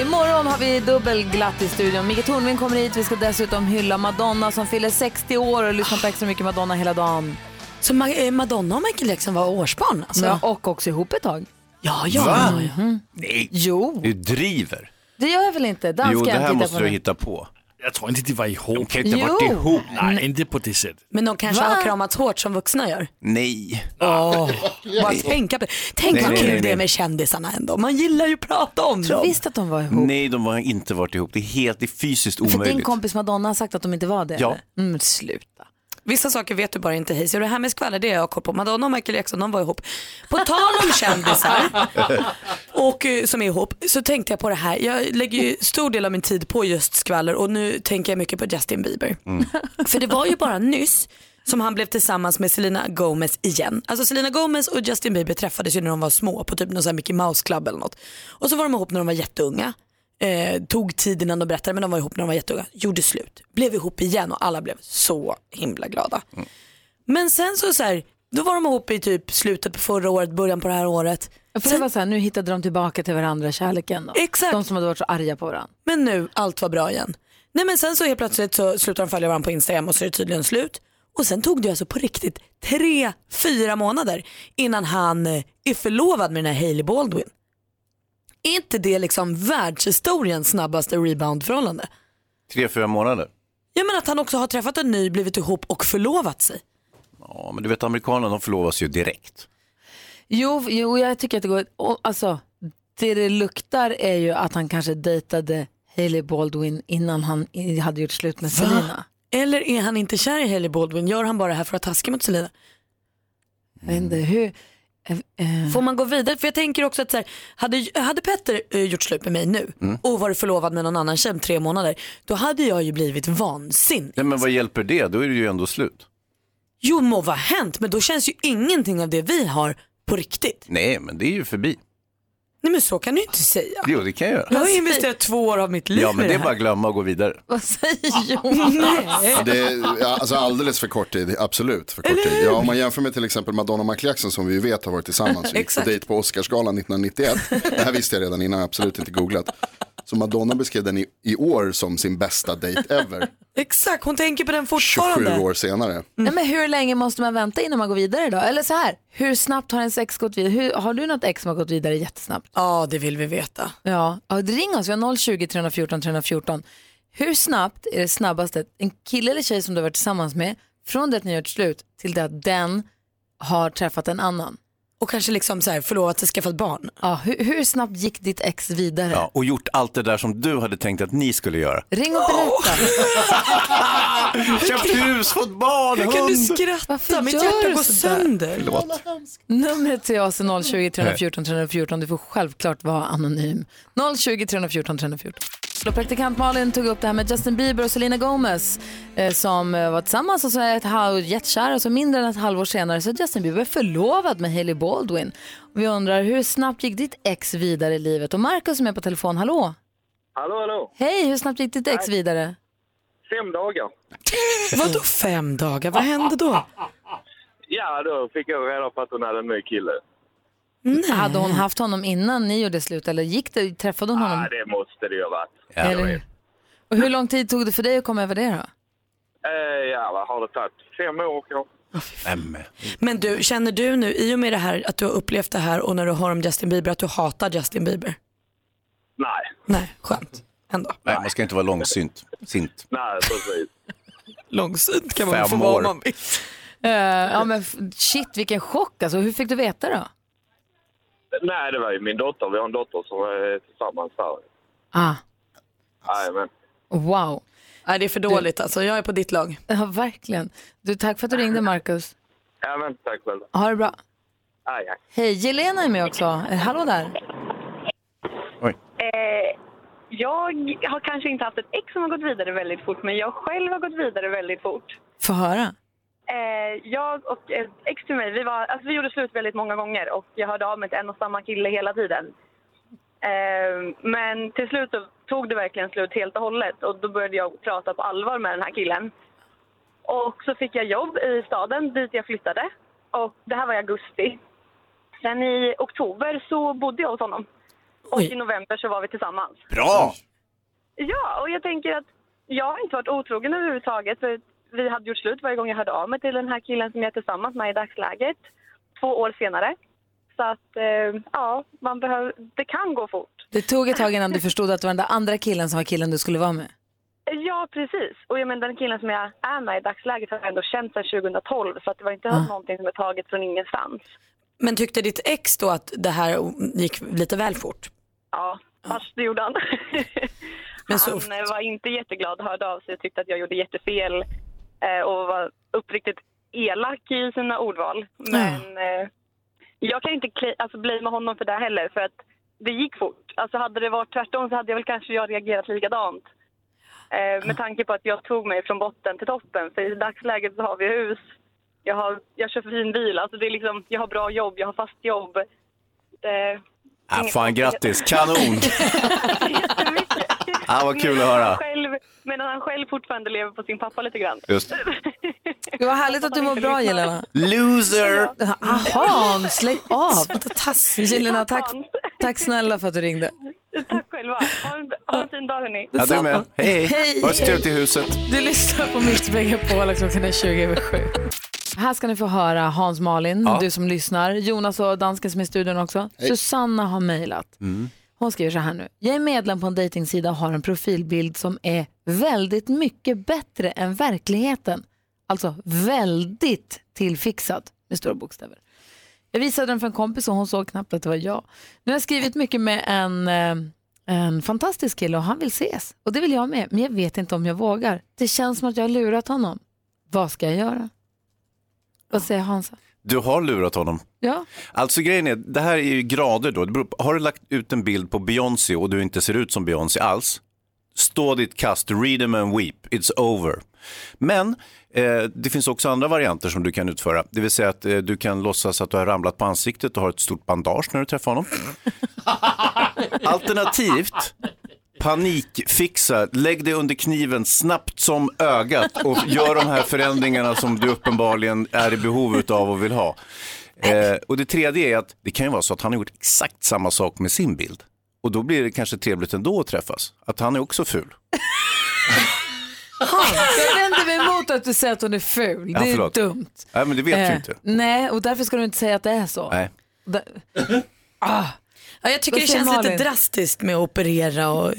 A: Imorgon har vi dubbel glatt i studion. Micke Tornving kommer hit. Vi ska dessutom hylla Madonna som fyller 60 år och lyssna på extra mycket Madonna hela dagen.
B: Så Ma- eh, Madonna och Michael Jackson var årsbarn alltså?
A: Ja, och också ihop ett tag.
B: Ja,
C: ja, Va? ja,
B: Mm-hmm.
A: Nej. Jo.
C: Du driver.
A: Det gör jag väl inte? Dansken
C: jo, det här
A: tittar
C: måste
A: på
C: du
A: mig.
C: hitta på.
H: Jag tror inte de var ihop. De
C: kan inte ha varit
A: Jo.
H: ihop. Nej, inte på det sättet.
B: Men de kanske
H: Va?
B: har kramats hårt som vuxna gör.
C: Nej.
B: Åh, Bara
H: Nej.
B: tänka på det. Tänk
C: Nej,
B: vad
C: nej,
B: kul
C: nej,
B: det är
C: nej.
B: med kändisarna ändå. Man gillar ju att prata om
A: tror
B: dem.
A: visst att de var ihop.
C: Nej, de har inte varit ihop. Det är helt det är fysiskt
A: För din
C: omöjligt.
A: kompis Madonna har sagt att de inte var det?
C: Ja.
A: eller? Mm, sluta.
B: Vissa saker vet du bara inte hej. Så det här med skvaller det är jag koll på. Madonna och Michael Jackson de var ihop. På tal om kändisar [laughs] och eh, som är ihop så tänkte jag på det här. Jag lägger ju stor del av min tid på just skvaller och nu tänker jag mycket på Justin Bieber. [laughs] För det var ju bara nyss som han blev tillsammans med Selena Gomez igen. Alltså Selena Gomez och Justin Bieber träffades ju när de var små på typ någon sån här Mickey Mouse Club eller något. Och så var de ihop när de var jätteunga. Eh, tog tid innan de berättade men de var ihop när de var jätteunga. Gjorde slut, blev ihop igen och alla blev så himla glada. Men sen så, så här, då var de ihop i typ slutet på förra året, början på det här året.
A: Ja, För det var så här, nu hittade de tillbaka till varandra, kärleken. Då. Exakt. De som hade varit så arga på varandra.
B: Men nu, allt var bra igen. Nej men sen så helt plötsligt så slutar de följa varandra på Instagram och så är det tydligen slut. Och sen tog det alltså på riktigt tre, fyra månader innan han eh, är förlovad med den här Hailey Baldwin. Är inte det liksom världshistoriens snabbaste rebound-förhållande?
C: Tre, fyra månader.
B: Jag menar att han också har träffat en ny, blivit ihop och förlovat sig.
C: Ja, men du vet amerikanerna de förlovas ju direkt.
A: Jo, jo, jag tycker att det går... och, Alltså, det det luktar är ju att han kanske dejtade Hailey Baldwin innan han i- hade gjort slut med Selina.
B: Eller är han inte kär i Hailey Baldwin? Gör han bara det här för att vara taskig mot Selina?
A: Jag vet inte hur... eh,
B: Får man gå vidare? För jag tänker också att så här, hade, hade Petter eh, gjort slut med mig nu
M: Mm.
B: och varit förlovad med någon annan tjej om tre månader, då hade jag ju blivit vansinnig.
C: Nej, men vad hjälper det? Då är det ju ändå slut.
B: Jo må vad hänt, men då känns ju ingenting av det vi har på riktigt.
C: Nej, men det är ju förbi.
B: Nej men så kan du ju inte säga.
C: Jo, det kan jag göra.
B: Jag har investerat två år av mitt liv
C: Ja,
B: i
C: men det är
B: här.
C: bara att glömma och gå vidare.
A: Vad säger Johan?
B: Nej.
M: Det är, ja, alltså alldeles för kort tid, absolut för kort tid. Ja, om man jämför med till exempel Madonna och Michael Jackson som vi ju vet har varit tillsammans och gick på
B: Exakt.
M: dejt på Oscarsgalan 1991. Det här visste jag redan innan, jag har absolut inte googlat. Så Madonna beskrev den i, i år som sin bästa dejt ever,
B: Exakt, hon tänker på den
M: 27
B: fortfarande. Mm.
M: år senare.
A: Nej, men hur länge måste man vänta innan man går vidare då? Eller så här, hur snabbt har ens ex gått vidare? Hur, har du något ex som har gått vidare jättesnabbt?
B: Ja, det vill vi veta.
A: Ja, ja ring oss, vi har 020 314 314. Hur snabbt är det snabbaste en kille eller tjej som du har varit tillsammans med från det att ni har gjort slut till det att den har träffat en annan?
B: Och kanske liksom så här, förlovat sig, skaffat barn.
A: Ja, hur, hur snabbt gick ditt ex vidare?
C: Ja, och gjort allt det där som du hade tänkt att ni skulle göra.
A: Ring och berätta.
C: Ah, Köpt hus, fått barn,
B: Hur kan du
C: hund.
B: skratta?
A: Varför
B: Mitt
A: gör
B: hjärta
A: du
B: går
A: sådär?
B: sönder.
C: Förlåt.
A: Numret till oss är 020 314 314. Du får självklart vara anonym. 020 314 314. Och praktikant Malin tog upp det här med Justin Bieber och Selena Gomez eh, som eh, var tillsammans och så är ett halv, jättekära och så mindre än ett halvår senare så är Justin Bieber förlovad med Hailey Baldwin. Och vi undrar hur snabbt gick ditt ex vidare i livet? Och Markus som är på telefon, hallå?
N: Hallå, hallå.
A: Hej, hur snabbt gick ditt ex vidare?
N: Fem dagar.
B: Vadå fem dagar? Vad hände då?
N: Ja, då fick jag reda på att hon hade en ny kille.
A: Hade hon haft honom innan ni gjorde slut eller gick det, träffade hon honom?
N: Ja, Ah, det måste det ju ha varit.
A: Eller hur? Och hur lång tid tog det för dig att komma över det då?
N: Eh, ja, vad har det tagit? Fem år kanske?
B: Men du, känner du nu i och med det här att du har upplevt det här och när du hör om Justin Bieber att du hatar Justin Bieber?
N: Nej.
B: Nej, skönt.
C: Nej, man ska inte vara långsynt. Sint.
N: Nej, precis.
B: Långsynt kan
C: man väl få vara om man
B: vill.
A: [laughs] Eh, ja men f- shit vilken chock alltså. Hur fick du veta då?
N: Nej, det var ju min dotter. Vi har en dotter som är tillsammans
C: Alltså.
N: där.
A: Ah,
N: Jajamän.
A: wow.
B: Nej, det är för dåligt alltså. Jag är på ditt lag.
A: Ja verkligen. Du, tack för att du ringde Markus.
N: Jajamän, tack själv.
A: Ha det bra.
N: Aj, aj.
A: Hej, Jelena är med också. Eh, Hallå där.
O: Eh, jag har kanske inte haft ett ex som har gått vidare väldigt fort, men jag själv har gått vidare väldigt fort.
A: Få höra.
O: Eh, jag och ett ex till mig, vi, var, alltså vi gjorde slut väldigt många gånger och jag hörde av mig till en och samma kille hela tiden. Eh, men till slut så tog det verkligen slut helt och hållet och då började jag prata på allvar med den här killen. Och så fick jag jobb i staden dit jag flyttade och det här var i augusti. Sen i oktober så bodde jag hos honom och i november så var vi tillsammans.
C: Bra!
O: Ja, och jag tänker att jag har inte varit otrogen överhuvudtaget. För vi hade gjort slut varje gång jag hörde av mig till den här killen som jag är tillsammans med i dagsläget. Två år senare. Så att, eh, ja, man behöver, det kan gå fort.
A: Det tog ett tag innan du förstod att det var den där andra killen som var killen du skulle vara med.
O: Ja, precis. Och jag menar, den killen som jag är med i dagsläget har jag ändå känt sedan 2012. Så att det var inte
B: Ah.
O: någonting som är taget från ingenstans.
B: Men tyckte ditt ex då att det här gick lite väl fort?
O: Ja, fast det gjorde han.
B: [laughs] Men så-
O: Han eh, var inte jätteglad, hörde av sig och tyckte att jag gjorde jättefel eh, och var uppriktigt elak i sina ordval. Men eh, jag kan inte kli- alltså, blamea honom för det heller, för att det gick fort. Alltså hade det varit tvärtom så hade jag väl kanske jag reagerat likadant. Eh, med tanke på att jag tog mig från botten till toppen. För i dagsläget så har vi hus, jag, har, jag kör fin bil, alltså det är liksom, jag har bra jobb, jag har fast jobb. Eh, Det,
C: Ah, fan, grattis. Kanon! ah, vad kul att
O: Medan han
C: höra.
O: [laughs] Själv, medan han själv fortfarande lever på sin pappa lite grann.
C: Just.
A: Det var härligt att du mår bra Jelena.
C: Loser!
A: Ah, Hans, lägg av! Jelena, tack, tack snälla för att du ringde.
O: Tack själva. Ha en, ha en fin dag hörni.
C: Ja, du med. Hej,
A: Hej.
C: hej. Var så trevligt i huset.
A: Du lyssnar på Mix Megapol och klockan är 20 över 7. Här ska ni få höra Hans Malin,
P: Ja.
A: du som lyssnar, Jonas och dansken som är i studion också.
P: Hej.
A: Susanna har mejlat. Hon skriver så här nu. Jag är medlem på en dejtingsida och har en profilbild som är väldigt mycket bättre än verkligheten. Alltså väldigt tillfixad med stora bokstäver. Jag visade den för en kompis och hon såg knappt att det var jag. Nu har jag skrivit mycket med en, eh, en fantastisk kille och han vill ses. Och det vill jag med, men jag vet inte om jag vågar. Det känns som att jag har lurat honom. Vad ska jag göra? Vad säger Hansa?
C: Du har lurat honom.
A: Ja.
C: Alltså grejen är, det här är ju grader då. Det beror på, har du lagt ut en bild på Beyoncé och du inte ser ut som Beyoncé alls, stå ditt kast, read them and weep, it's over. Men eh, det finns också andra varianter som du kan utföra. Det vill säga att eh, du kan låtsas att du har ramlat på ansiktet och har ett stort bandage när du träffar honom. Alternativt panikfixa, lägg dig under kniven snabbt som ögat och gör de här förändringarna som du uppenbarligen är i behov av och vill ha. Eh, och det tredje är att det kan ju vara så att han har gjort exakt samma sak med sin bild. Och då blir det kanske trevligt ändå att träffas, att han är också ful.
A: Jag vänder mig emot att du säger att hon är ful.
C: Ja,
A: det är
C: förlåt.
A: dumt.
C: Nej, men det vet
A: Eh,
C: ju inte.
A: Nej, och därför ska du inte säga att det är så.
C: Nej.
A: Da- Ah.
B: Ja, jag tycker
A: Vad
B: det
A: säger
B: känns
A: Malin?
B: lite drastiskt med att operera och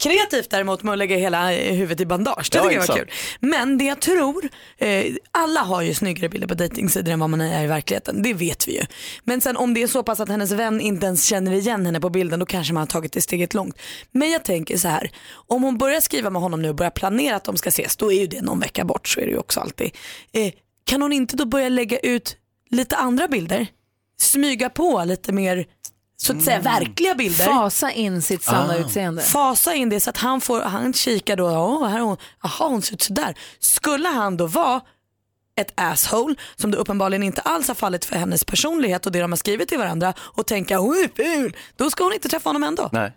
B: kreativt däremot med att lägga hela eh, huvudet i bandage. Det
A: Ja,
B: tycker jag var
A: exakt.
B: kul. Men det jag tror, eh, alla har ju snyggare bilder på dejtingsidor än vad man är i verkligheten. Det vet vi ju. Men sen om det är så pass att hennes vän inte ens känner igen henne på bilden då kanske man har tagit det steget långt. Men jag tänker så här, om hon börjar skriva med honom nu och börjar planera att de ska ses, då är ju det någon vecka bort, så är det ju också alltid. Eh, kan hon inte då börja lägga ut lite andra bilder? Smyga på lite mer så att säga
A: Mm.
B: verkliga bilder.
A: Fasa in sitt sanna Ah. utseende.
B: Fasa in det så att han får, han kikar då, åh, här är hon, aha hon ser ut sådär. Skulle han då vara ett asshole som då uppenbarligen inte alls har fallit för hennes personlighet och det de har skrivit till varandra och tänka hon är ful, då ska hon inte träffa honom ändå.
C: Nej.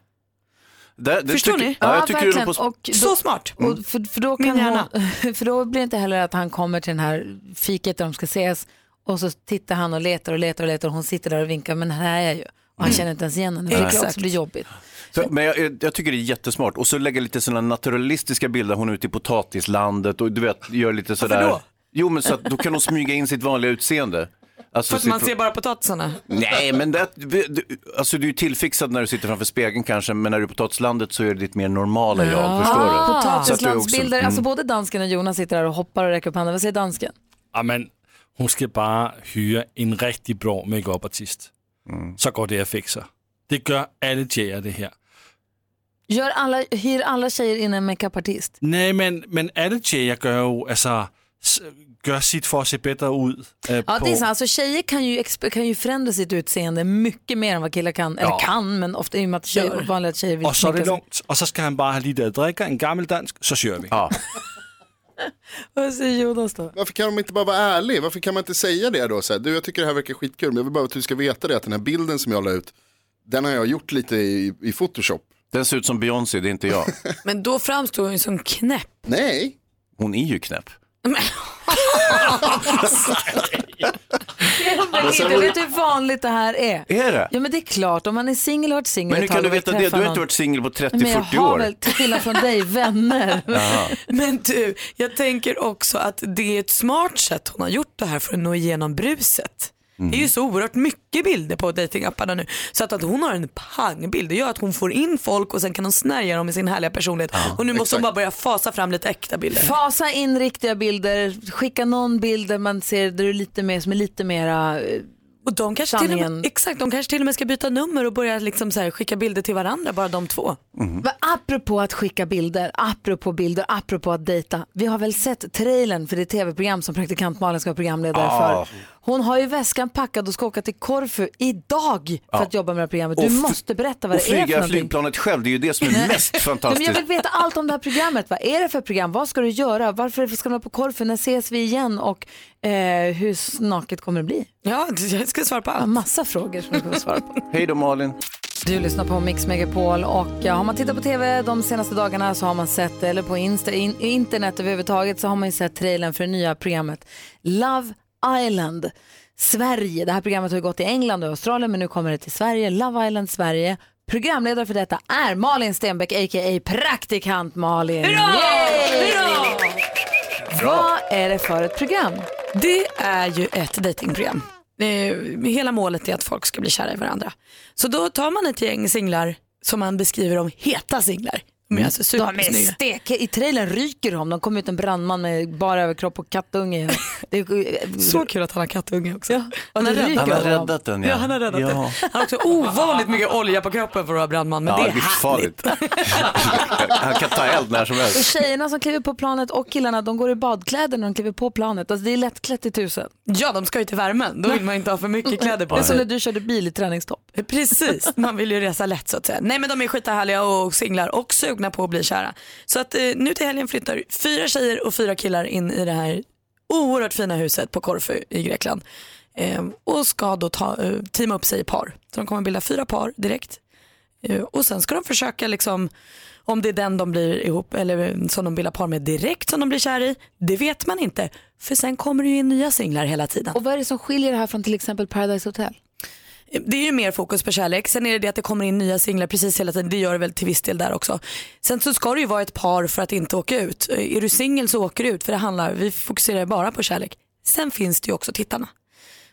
C: Där- det
B: Förstår
C: tycker-
B: ni?
C: Ja, jag tycker du är
A: verkligen.
C: på...
A: Och då-
B: Så smart.
A: Och för, för, då kan
B: Min hjärna.
A: hon, [laughs] för då blir det inte heller att han kommer till den här fiket där de ska ses och så tittar han och letar och letar och letar och hon sitter där och vinkar men här är jag ju. Och han
C: Mm.
A: känner inte ens igen henne. Det kan
C: Exakt.
A: också bli jobbigt.
C: Så, men jag, jag- jag tycker det är jättesmart. Och så lägga lite sådana naturalistiska bilder, hon är ute i potatislandet och du vet, gör lite sådär.
B: då?
C: Jo, men så att då kan hon smyga in sitt vanliga utseende. Alltså,
B: För att
C: sitt-
B: man ser bara potatisarna.
C: Nej, men det, du, alltså, du är ju tillfixad när du sitter framför spegeln kanske, men när du är på potatislandet så är det ditt mer normala jag. Förstår du? Så att du är också-
A: Ah. Potatislandsbilder, alltså
H: Mm.
A: både dansken och Jonas sitter där och hoppar och räcker upp handen. Vad säger dansken?
H: Ah, men, hon ska bara hyra en riktigt bra makeupartist. Så går det att fixa. Det gör alla tjejer det här.
A: Gör alla, hyr alla tjejer in en makeupartist?
H: Nej, men, men alla tjejer gör ju, alltså, s- gör sitt för att se bättre ut. eh,
A: Ja,
H: på-
A: det är sant. Alltså, tjejer kan ju, exp- kan ju förändra sitt utseende mycket mer än vad killar kan. Eller
H: Ja.
A: kan, men ofta i och med att tjejer, vanliga tjejer vill
H: Och så är det
A: sminka sig.
H: lugnt. Och så ska han bara ha lite att dricka, en gammeldansk, så kör vi.
A: Vad säger Jonas då?
M: Varför kan de inte bara vara ärlig? Varför kan man inte säga det då? Så här, du, jag tycker det här verkar skitkul, men jag vill bara att du ska veta det att den här bilden som jag la ut, den har jag gjort lite i, i Photoshop.
C: Den ser ut som Beyoncé, det är inte jag.
B: Men då framstår hon ju som [laughs]
A: [laughs]
B: knäpp.
M: Nej.
C: Mm. Hon är ju knäpp.
A: Jag vet
C: Alltså,
A: inte, vet du hur vanligt det här är?
C: Är det?
A: Ja men det är klart, om man är singel och har varit singel
C: Men hur
A: ett tag
C: kan du
A: och vill
C: veta det? Du
A: träffa
C: har
A: någon.
C: inte varit singel på
A: Men jag
C: 30-40
A: har
C: år.
A: väl, till skillnad från dig,
C: [laughs]
A: vänner.
C: Jaha.
B: [laughs] Men du, jag tänker också att det är ett smart sätt hon har gjort det här för att nå igenom bruset. Det är ju så oerhört mycket bilder på datingapparna nu. Så att, att hon har en pangbild, det gör att hon får in folk och sen kan hon snärja dem i sin härliga personlighet. och nu måste hon bara börja fasa fram lite äkta bilder.
A: Fasa in riktiga bilder, skicka någon bild där man ser där du är lite mer, som är lite mera eh,
B: Och de kanske till och med, exakt, de kanske till och med ska byta nummer och börja liksom så här, skicka bilder till varandra, bara de två.
A: Va, apropå att skicka bilder, apropå bilder, apropå att dejta. Vi har väl sett trailern för det tv-program som praktikant Malin ska vara programledare
P: Ah.
A: för. Hon har ju väskan packad och ska åka till Korfu idag för
C: Ja.
A: att jobba med det här programmet.
C: Och
A: Du
C: f-
A: måste berätta vad
C: Och
A: det är för
C: flyga
A: någonting.
C: flygplanet själv, det är ju det som är mest
A: Nej, Men jag
C: fantastiskt.
A: vill veta allt om det här programmet. Vad är det för program? Vad ska du göra? Varför ska du vara på Korfu? När ses vi igen? Och eh, hur snaket kommer det bli?
B: Ja, jag ska svara på allt.
A: Massa frågor som du kommer svara på.
C: Hej då Malin.
A: Du lyssnar på Mix Megapol och ja, har man tittat på tv de senaste dagarna så har man sett, eller på Insta, in, internet överhuvudtaget så har man ju sett trailern för det nya programmet Love Island Sverige. Det här programmet har ju gått i England och Australien men nu kommer det till Sverige, Love Island Sverige. Programledare för detta är Malin Stenbeck, a.k.a. praktikant Malin. Yay! Vad är det för ett program?
B: Det är ju ett datingprogram. Eh, Hela målet är att folk ska bli kära i varandra. Så då tar man ett gäng singlar som man beskriver som heta singlar. De är alltså
A: De är
B: supersnygga.
A: steke. I trailern ryker de. De kom ut en brandman med bara överkropp och kattunge. Det är...
B: Så kul att han har kattunge också. Ja.
A: Han har räddat-
C: Han har räddat den, ja.
B: ja. Han har räddat
C: Ja.
B: den. Han har också ovanligt mycket olja på kroppen för att vara brandman. Men
C: ja,
B: det är
C: livsfarligt. [laughs] Han kan ta eld när som
A: Och
C: helst.
A: tjejerna som kliver på planet och killarna de går i badkläder när de kliver på planet. Alltså, det är lättklätt i tusen.
B: Ja, de ska ju till värmen. Då vill man inte ha för mycket kläder på
A: Det är som
B: sig.
A: när du körde bil i träningstopp.
B: Eh, Precis, man vill ju resa lätt så att säga. Nej men de är skithärliga och singlar och sugna på att bli kära. Så att eh, nu till helgen flyttar fyra tjejer och fyra killar in i det här oerhört fina huset på Korfu i Grekland. Eh, och ska då ta, eh, teama upp sig i par. Så de kommer bilda fyra par direkt. Eh, och sen ska de försöka liksom om det är den de blir ihop eller eh, som de bildar par med direkt som de blir kär i. Det vet man inte. För sen kommer det ju in nya singlar hela tiden.
A: Och vad är det som skiljer det här från till exempel Paradise Hotel?
B: Det är ju mer fokus på kärlek. Sen är det det att det kommer in nya singlar precis hela tiden. Det gör det väl till viss del där också. Sen så ska det ju vara ett par för att inte åka ut. Eh, Är du singel så åker du ut för det handlar, vi fokuserar bara på kärlek. Sen finns det ju också tittarna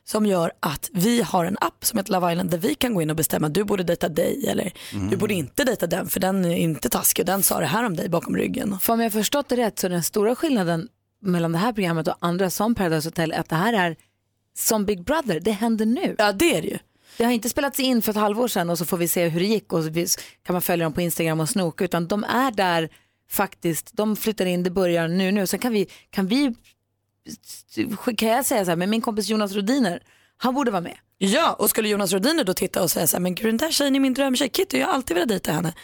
B: som gör att vi har en app som heter Love Island där vi kan gå in och bestämma du borde dejta dig eller du borde inte dejta den för den är inte taskig och den sa det här om dig bakom ryggen.
A: För om jag förstått det rätt så är den stora skillnaden mellan det här programmet och andra som Paradise Hotel att det här är som Big Brother, det händer nu.
B: Ja det är det ju.
A: Det har inte spelats in för ett halvår sedan och så får vi se hur det gick och så vi- kan man följa dem på Instagram och snoka utan de är där faktiskt, de flyttar in, det börjar nu nu. Sen kan vi, kan vi, kan jag säga så här, men min kompis Jonas Rodiner, han borde vara med.
B: Ja, och skulle Jonas Rhodiner då titta och säga så här, men gud den där tjejen är min drömtjej, Kitty, jag har alltid velat dejta henne.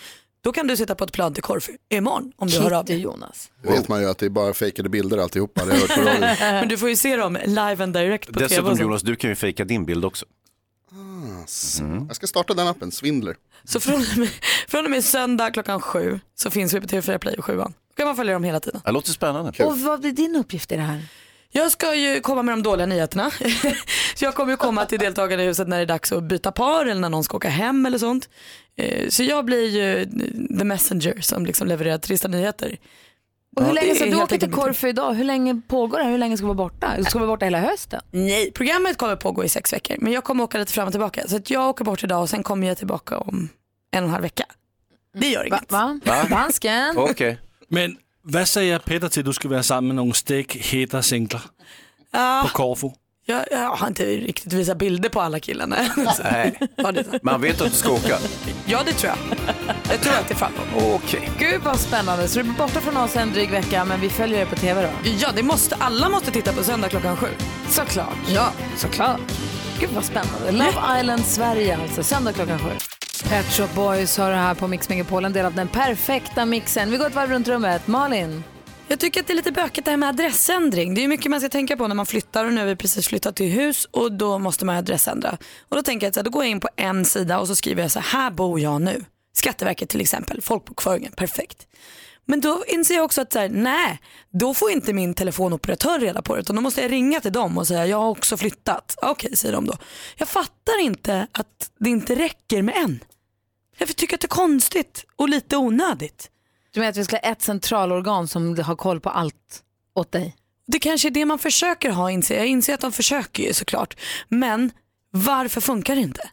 B: Då kan du sitta på ett plan till Korfu imorgon om du hör av dig.
A: Jonas.
C: Oh.
M: Då vet man ju att det är bara fejkade bilder alltihopa. Det har jag hört
C: [laughs]
M: på radio.
B: [laughs] men du får ju se dem live and direct på tv. och
C: Dessutom
B: sånt.
C: Jonas, du kan ju fejka din bild också.
M: Ah,
C: Mm.
M: Jag ska starta den appen, Svindler.
B: Så från och, med, från och med söndag klockan sju så finns vi på TV4 Play och sjuan. Då kan man följa dem hela tiden.
C: Det låter spännande.
A: Och vad blir din uppgift i det här?
B: Jag ska ju komma med de dåliga nyheterna. [laughs] så jag kommer ju komma till deltagarna i huset när det är dags att byta par eller när någon ska åka hem eller sånt. Eh, Så jag blir ju the messenger som liksom levererar trista nyheter.
A: Och hur
B: Ja, det
A: länge ska
B: är
A: du
B: helt
A: åka till
B: enkelt-
A: Korfu idag? Hur länge pågår det här? Hur länge ska du vara borta? Ska du vara borta hela hösten?
B: Nej, programmet kommer pågå i sex veckor men jag kommer åka lite fram och tillbaka. Så att jag åker bort idag och sen kommer jag tillbaka om en och en halv vecka. Det gör inget.
A: Va?
H: Va?
A: Dansken.
H: Men vad säger Peter till att du ska vara samman med någon stek heta singlar
B: Ja,
H: på Korfu?
B: jag, jag har inte riktigt visat bilder på alla killarna. [laughs] Så-
C: Nej.
B: Ja, det-
C: Man vet att du ska åka.
B: ja, det tror jag. Jag tror att det är framåt.
C: Okej.
A: Gud vad spännande. Så du blir borta från oss en dryg vecka men vi följer er på tv då?
B: Ja, det måste, alla måste titta på söndag klockan sju.
A: Såklart.
B: Ja,
A: såklart. Gud vad spännande. Love Island Sverige alltså, söndag klockan sju. Pet Shop Boys har det här på Mix Megapol, en del av den perfekta mixen. Vi går ett varv runt rummet. Malin?
B: Jag tycker att det är lite bökigt det här med adressändring. Det är ju mycket man ska tänka på när man flyttar och nu har vi precis flyttat till hus och då måste man adressändra. Och då tänker jag att så här, då går jag in på en sida och så skriver jag så här, här bor jag nu. Skatteverket till exempel, folkbokföringen, perfekt. Men då inser jag också att så här, nej, då får inte min telefonoperatör reda på det utan då måste jag ringa till dem och säga jag har också flyttat. Okej, säger de då. Jag fattar inte att det inte räcker med en. Jag tycker att det är konstigt och lite onödigt.
A: Du menar att vi ska ha ett centralorgan som har koll på allt åt dig?
B: Det kanske är det man försöker ha inser. Jag inser att de försöker ju såklart. Men varför funkar det inte?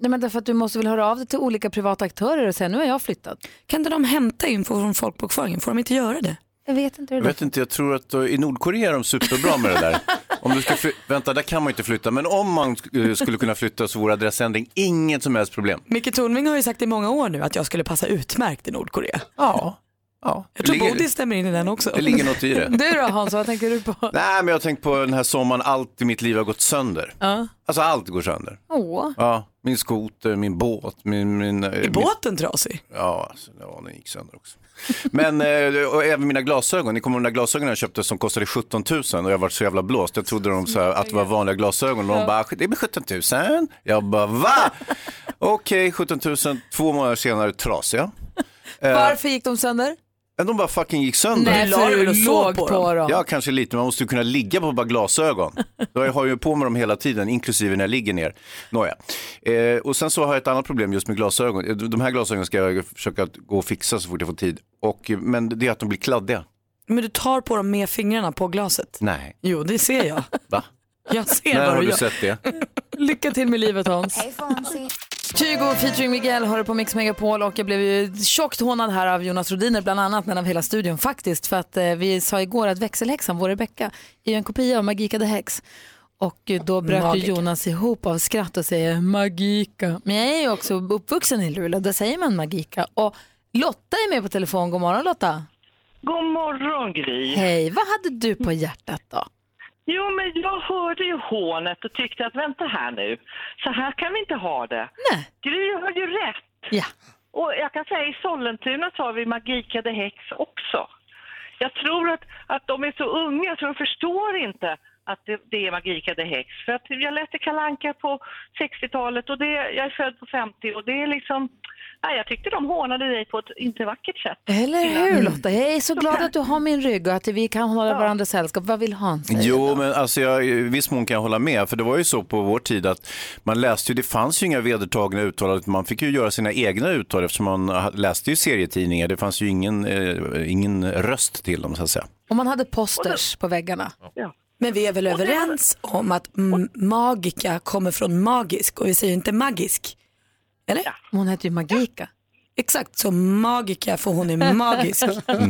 A: Nej men därför att du måste väl höra av dig till olika privata aktörer och säga nu har jag flyttat.
B: Kan inte de hämta info från folkbokföringen? Får de inte göra det?
A: Jag vet inte
C: Jag
A: hur det
C: vet inte, jag tror att eh, i Nordkorea är de superbra med det
A: [laughs]
C: där. Om du ska fly- Vänta, där kan man ju inte flytta, men om man eh, skulle kunna flytta så vore adressändring inget som helst problem.
B: Micke Tornving har ju sagt i många år nu att jag skulle passa utmärkt i Nordkorea.
C: Ja. Ja.
B: Jag tror Bodil stämmer in i den också.
C: det ligger något i det.
A: [laughs] Du då Hans, vad tänker du på?
C: Nej, men jag har tänkt på den här sommaren, allt i mitt liv har gått sönder.
A: Ja.
C: Alltså allt går sönder.
A: Åh.
C: Ja, min skoter, min båt, min... min eh,
B: Är
C: min,
B: båten trasig?
C: Ja, alltså, ja, den gick sönder också. Men eh, och även mina glasögon, ni kommer ihåg de där glasögonen jag köpte som kostade 17 000 och jag var så jävla blåst. Jag trodde de, så här, att det var vanliga glasögon och de
P: Ja.
C: bara, det blir 17 000. Jag bara, va? Okej, 17 000, två månader senare trasiga. Eh,
A: Varför gick de sönder?
C: men de bara fucking gick sönder.
A: Nej, för du låg på dem.
C: Ja, kanske lite, men man måste ju kunna ligga på bara
A: [laughs]
C: glasögon. Jag har ju på mig dem hela tiden, inklusive när jag ligger ner. Nåja. Eh, och sen så har jag ett annat problem just med glasögon. Eh, De här glasögonen ska jag försöka att gå och fixa så fort jag får tid. Och, eh, men det är att de blir kladdiga.
B: Men du tar på dem med fingrarna på glaset.
C: Nej,
B: Jo, det ser jag.
C: [laughs] va?
B: Jag ser
C: När
B: vad
C: har
B: du
C: du
B: gör.
C: sett
A: [laughs]
C: det?
A: Lycka till med livet Hans. Kygo featuring Miguel har du på Mix Megapol och jag blev ju tjockt hånad här av Jonas Rodiner bland annat men av hela studion faktiskt för att eh, vi sa igår att växelhäxan, vår Rebecka, är ju en kopia av Magika the Hex. Och eh, då bröt ju
G: Magica.
A: Jonas ihop av skratt och säger Magika. Men jag är ju också uppvuxen i Luleå, där säger man Magika. Och Lotta är med på telefon, god morgon Lotta.
Q: God morgon Gry.
A: Hej, vad hade du på hjärtat då?
Q: Jo, men jag hörde ju hånet och tyckte att vänta här nu, så här kan vi inte ha det.
A: Nej.
Q: Gry har ju rätt.
A: Ja.
Q: Och jag kan säga i Sollentuna så har vi Magikade häx också. Jag tror att, att de är så unga så de förstår inte att det, det är Magikade häx. För att jag läste Kalanka på 60-talet och det, jag är född på 50 och det är liksom, nej, jag tyckte de hånade dig på ett inte vackert sätt.
A: Eller hur Mm. Lotta? Jag är så glad att du har min rygg och att vi kan hålla varandra sällskap. Vad vill han säga?
C: Jo, men alltså jag, i viss mån kan jag hålla med. För det var ju så på vår tid att man läste ju, det fanns ju inga vedertagna uttal. utan Man fick ju göra sina egna uttal eftersom man ha- läste ju serietidningar. Det fanns ju ingen, eh, ingen röst till dem så att säga.
A: Om man hade posters på väggarna.
B: Men vi är väl överens om att m- magika kommer från magisk och vi säger inte magisk? Eller?
A: Hon heter ju Magika.
B: Exakt, så magika för
A: [laughs]
B: hon är magisk.
C: Ja.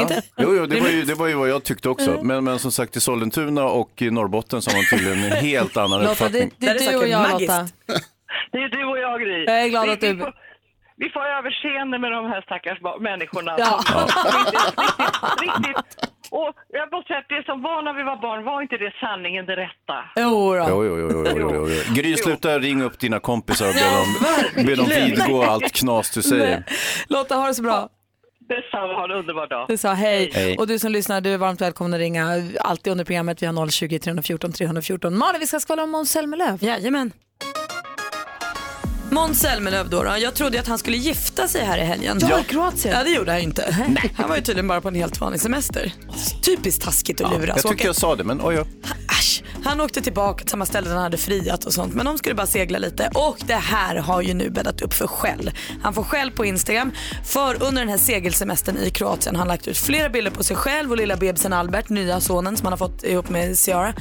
B: Inte?
C: Jo, jo det, var ju, det var ju vad jag tyckte också. Men, men som sagt, i Sollentuna och i Norrbotten så har man tydligen en helt annan
A: Lotta,
C: uppfattning.
A: det, det är du och jag Lotta.
Q: [laughs] Det är du och jag Gry.
A: Jag är glad
Q: Vi-
A: att du-
Q: Vi får, vi får överseende med de här stackars ba- människorna.
A: Ja.
Q: Som- [laughs] Riktigt, riktigt, riktigt. Och jag måste säga att det som var när vi var barn var inte det sanningen det rätta.
A: Jo,
C: Jo, jo, jo, jo, jo, jo, jo. Gry, sluta ringa upp dina kompisar och be dem, be dem
A: verkligen.
C: vidgå allt knas du säger.
A: Lotta, ha det så bra.
Q: Detsamma, ha en underbar dag.
A: Du sa hej.
C: Hej.
A: Och du som lyssnar, du är varmt välkommen att ringa. Alltid under programmet. Vi har 020 314 314. Malin, vi ska skvallra om Måns Zelmerlöw.
B: Jajamän. Måns Zelmerlöw då, då, jag trodde ju att han skulle gifta sig här i helgen.
A: Ja, i Kroatien.
B: Ja, det gjorde han ju inte. Han var ju tydligen bara på en helt vanlig semester. Typiskt taskigt att
C: Ja,
B: luras.
C: jag
B: Åka-
C: tyckte jag sa det, men oj, oj.
B: Han åkte tillbaka till samma ställe där han hade friat och sånt men de skulle bara segla lite och det här har ju nu bäddat upp för skäll. Han får skäll på Instagram för under den här segelsemestern i Kroatien har han lagt ut flera bilder på sig själv och lilla bebisen Albert, nya sonen som han har fått ihop med Ciara,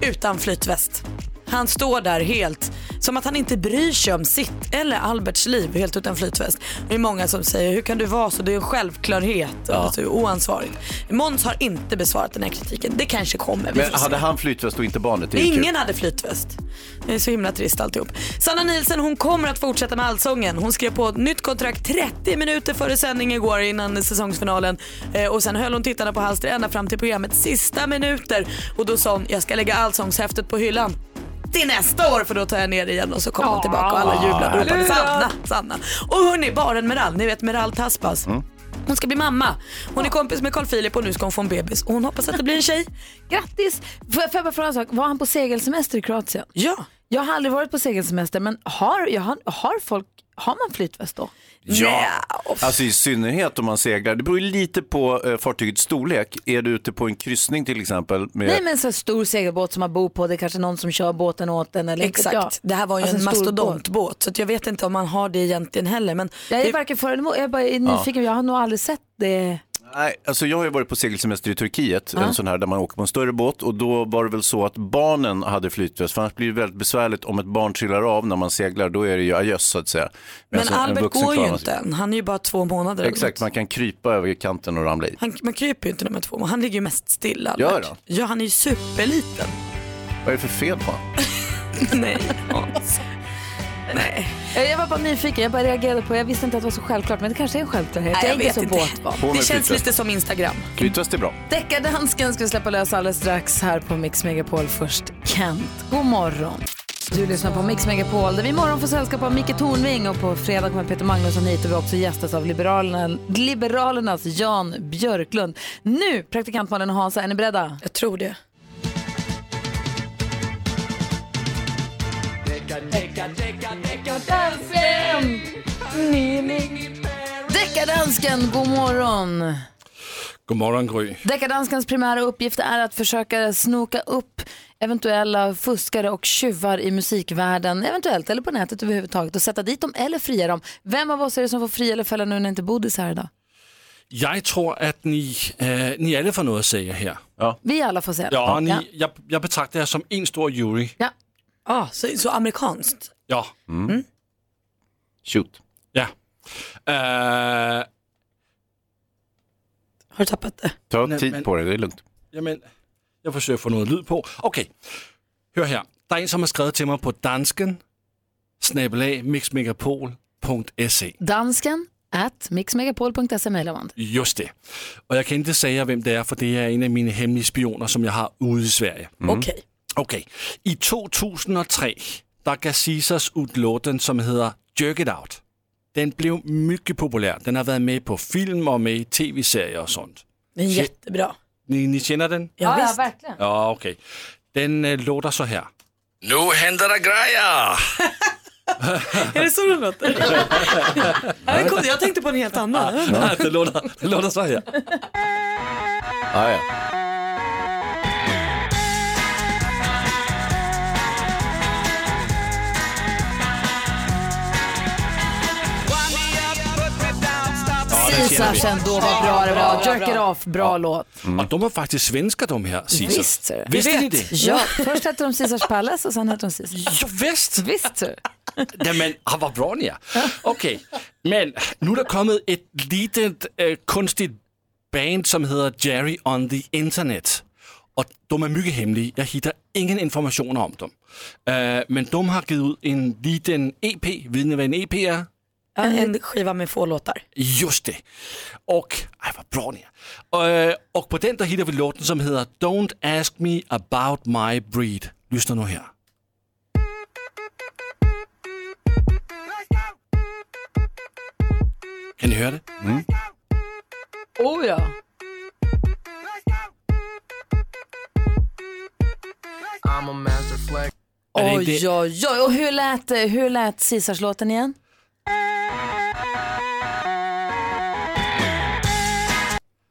B: utan flytväst. Han står där helt som att han inte bryr sig om sitt eller Alberts liv helt utan flytväst. Det är många som säger hur kan du vara så, det är en självklarhet och att du är oansvarig. Måns har inte besvarat den här kritiken, det kanske kommer. Vi
C: Men
B: får se.
C: hade han flytväst och inte barnet? Det är ju kul.
B: Ingen hade flytväst. Det är så himla trist alltihop. Sanna Nielsen hon kommer att fortsätta med Allsången. Hon skrev på ett nytt kontrakt 30 minuter före sändning igår innan säsongsfinalen. Eh, och sen höll hon tittarna på halster ända fram till programmets sista minuter. Och då sa hon, jag ska lägga Allsångshäftet på hyllan. Till nästa år för då tar jag ner det igen och så kommer hon tillbaka och alla
C: Ah,
B: jublar och ropar
G: halleluja.
B: Sanna, Sanna. Och hörni, baren Meral, ni vet Meral Taspas.
C: Mm.
B: Hon ska bli mamma. Hon är kompis med Carl Philip och nu ska hon få en bebis och hon hoppas att det blir en tjej.
A: Grattis! Får jag får jag bara fråga en sak? Var han på segelsemester i Kroatien?
B: Ja.
A: Jag har aldrig varit på segelsemester, men har, jag, har, har folk, har man flytväst då?
C: Ja, alltså i synnerhet om man seglar. Det beror ju lite på eh, fartygets storlek. Är du ute på en kryssning till exempel? Med...
A: Nej, men en sån här stor segelbåt som man bor på, det är kanske någon som kör båten åt en. Eller inte
B: Exakt,
A: jag.
B: det här var ju
A: Alltså
B: en
A: stor
B: mastodontbåt så att jag vet inte om man har det egentligen heller. Men
A: Jag är
B: det-
A: varken för eller emot, jag bara är nyfiken, jag har nog aldrig sett
B: [laughs]
A: det.
C: Nej, alltså jag har ju varit på segelsemester i Turkiet,
A: Ja.
C: en sån här där man åker på en större båt och då var det väl så att barnen hade flytväst, för annars blir det väldigt besvärligt om ett barn trillar av när man seglar, då är det ju adjöss så att säga.
B: men
C: Medan Alltså, en- en
B: Albert
C: vuxen
B: går ju
C: klarar
B: inte
C: sig.
B: än, han är ju bara två månader. eller
C: Exakt,
B: något.
C: man kan krypa över kanten och ramla i.
B: Han, man kryper ju inte när man är två månader, han ligger ju mest still Albert.
C: Gör han?
B: Ja, han är ju superliten. [laughs]
C: Vad är det för fel på honom?
B: Nej, Hans.
A: Eh, Jag jag var bara nyfiken, jag bara reagerade på, jag visste inte att det var så självklart, men det kanske är en självklarhet.
B: Nej, jag
A: är inte
B: vet
A: så
B: inte.
A: båtvan.
C: På med
B: Det känns
C: flytväst.
B: lite som Instagram.
C: Flytväst är bra.
A: Deckardansken ska vi släppa lös alldeles strax här på Mix Megapol. Först Kent, god morgon. Du lyssnar på Mix Megapol där vi imorgon får sällskap av Micke Tornving och på fredag kommer Peter Magnusson hit och vi också gästas av Liberalerna, Liberalernas Jan Björklund. Nu, praktikantmannen och Hansa, är ni beredda? Jag tror det. Deckardansken, god morgon.
H: Godmorgon Gry.
A: Deckardanskans primära uppgift är att försöka snoka upp eventuella fuskare och tjuvar i musikvärlden, eventuellt eller på nätet överhuvudtaget och sätta dit dem eller fria dem. Vem av oss är det som får fria eller fälla nu när inte Bodis är här idag?
H: Jeg tror, at ni, øh, ni alle får noget at sige her. Ja,
A: Vi alla får säga det.
H: ja, og ni,
A: Ja.
H: Jeg, jeg betragter jer som en stor jury.
A: Ja.
B: Ah, så, så amerikanskt.
H: Ja.
C: Mm.
B: Mm.
C: Shoot.
H: Ja. Øh,
B: Har du tappat det?
C: Ta
H: Nej,
C: tid
H: men-
C: på det, det är lugnt.
H: Jamen, jeg forsøger at få noget lyd på. Okay, hør her. Der er en, som har skrevet til mig på dansken, snabelag mixmegapol.se.
A: Dansken at mixmegapol.se mejlar man.
H: Just det. Og jeg kan ikke sige jer, hvem det er, for det er en af mine hemmelige spioner, som jeg har ude i Sverige.
B: Okay.
H: Okay. I 2003, der gav Caesars udlåten, som hedder Jerk It Out. Den blev mycket populær. Den har været med på film og med i tv-serier og sådan.
B: Den är jättebra.
H: Ni, ni kender den?
B: Ja,
A: ja verkligen.
H: Ja, okay. Den øh, låter så her. Nu henter der grejer!
B: [laughs] Är det så
C: [clears throat]
B: det låter? [laughs] Ja, det kom- Jag tänkte på en helt annan.
H: Nej, det låter, det låter så her.
C: Ah, ja.
H: det känner
A: Caesar
H: vi.
A: sen då, vad bra det var. Jerk it off, bra låt.
H: Och de är faktiskt svenskar de här, Caesar.
A: Visst, ser du.
H: Visste ni det?
A: Ja, först hette de Caesars Palace och sen hette de Caesars.
H: Ja, visst.
A: Visst, ser du.
H: Nej, men ah, vad bra ni är. Okej, men nu har det kommit ett litet äh, konstigt band som heter Jerry on the Internet. Och de är mycket hemliga. Jag hittar ingen information om dem. Eh, men de har gett ut en E liten EP. Vet ni vad en EP är?
B: En, en skiva med få låtar.
H: Just det. Och, ej vad bra ni är. Eh, och på den där hittar vi låten som heter Don't ask me about my breed. Lyssna nu här. Kan ni höra det?
A: Oh ja.
D: I'm a master flex.
A: Oj, oj, oj. Och hur lät, det- hur lät Caesars-låten igen?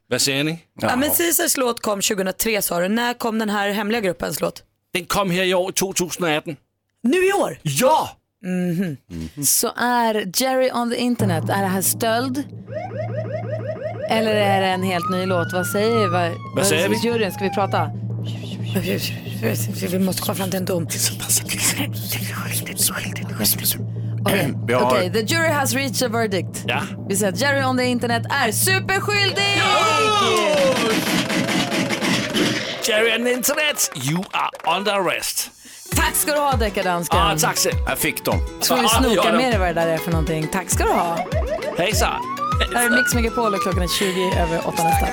H: Vad säger ni?
B: Ja, men Caesars låt kom 2003 sa du. När kom den här hemliga gruppens låt?
H: Den kom här i år, 2018.
B: Nu i år?
H: Ja!
A: Mhm. Så är Jerry on the internet, är det här stöld? Eller är det en helt ny låt? Vad säger, vad, vad
B: säger vi?
A: juryn? Ska vi prata?
B: Vi måste komma fram till en dom.
A: Okej,
B: Vi har-
A: okej, the jury has reached a verdict.
H: Ja.
A: Vi säger att Jerry on the internet är superskyldig!
H: Jerry and the Internet, you are under arrest.
A: Tack ska du ha deckardansken.
H: Ah, tack så Jag fick dem.
A: Ska vi
H: Ah,
A: snoka
H: ja, de-
A: med dig vad det där är för någonting. Tack ska du ha.
H: Hejsan.
A: Här är Mix Megapol och klockan är 20 över 8 nästan.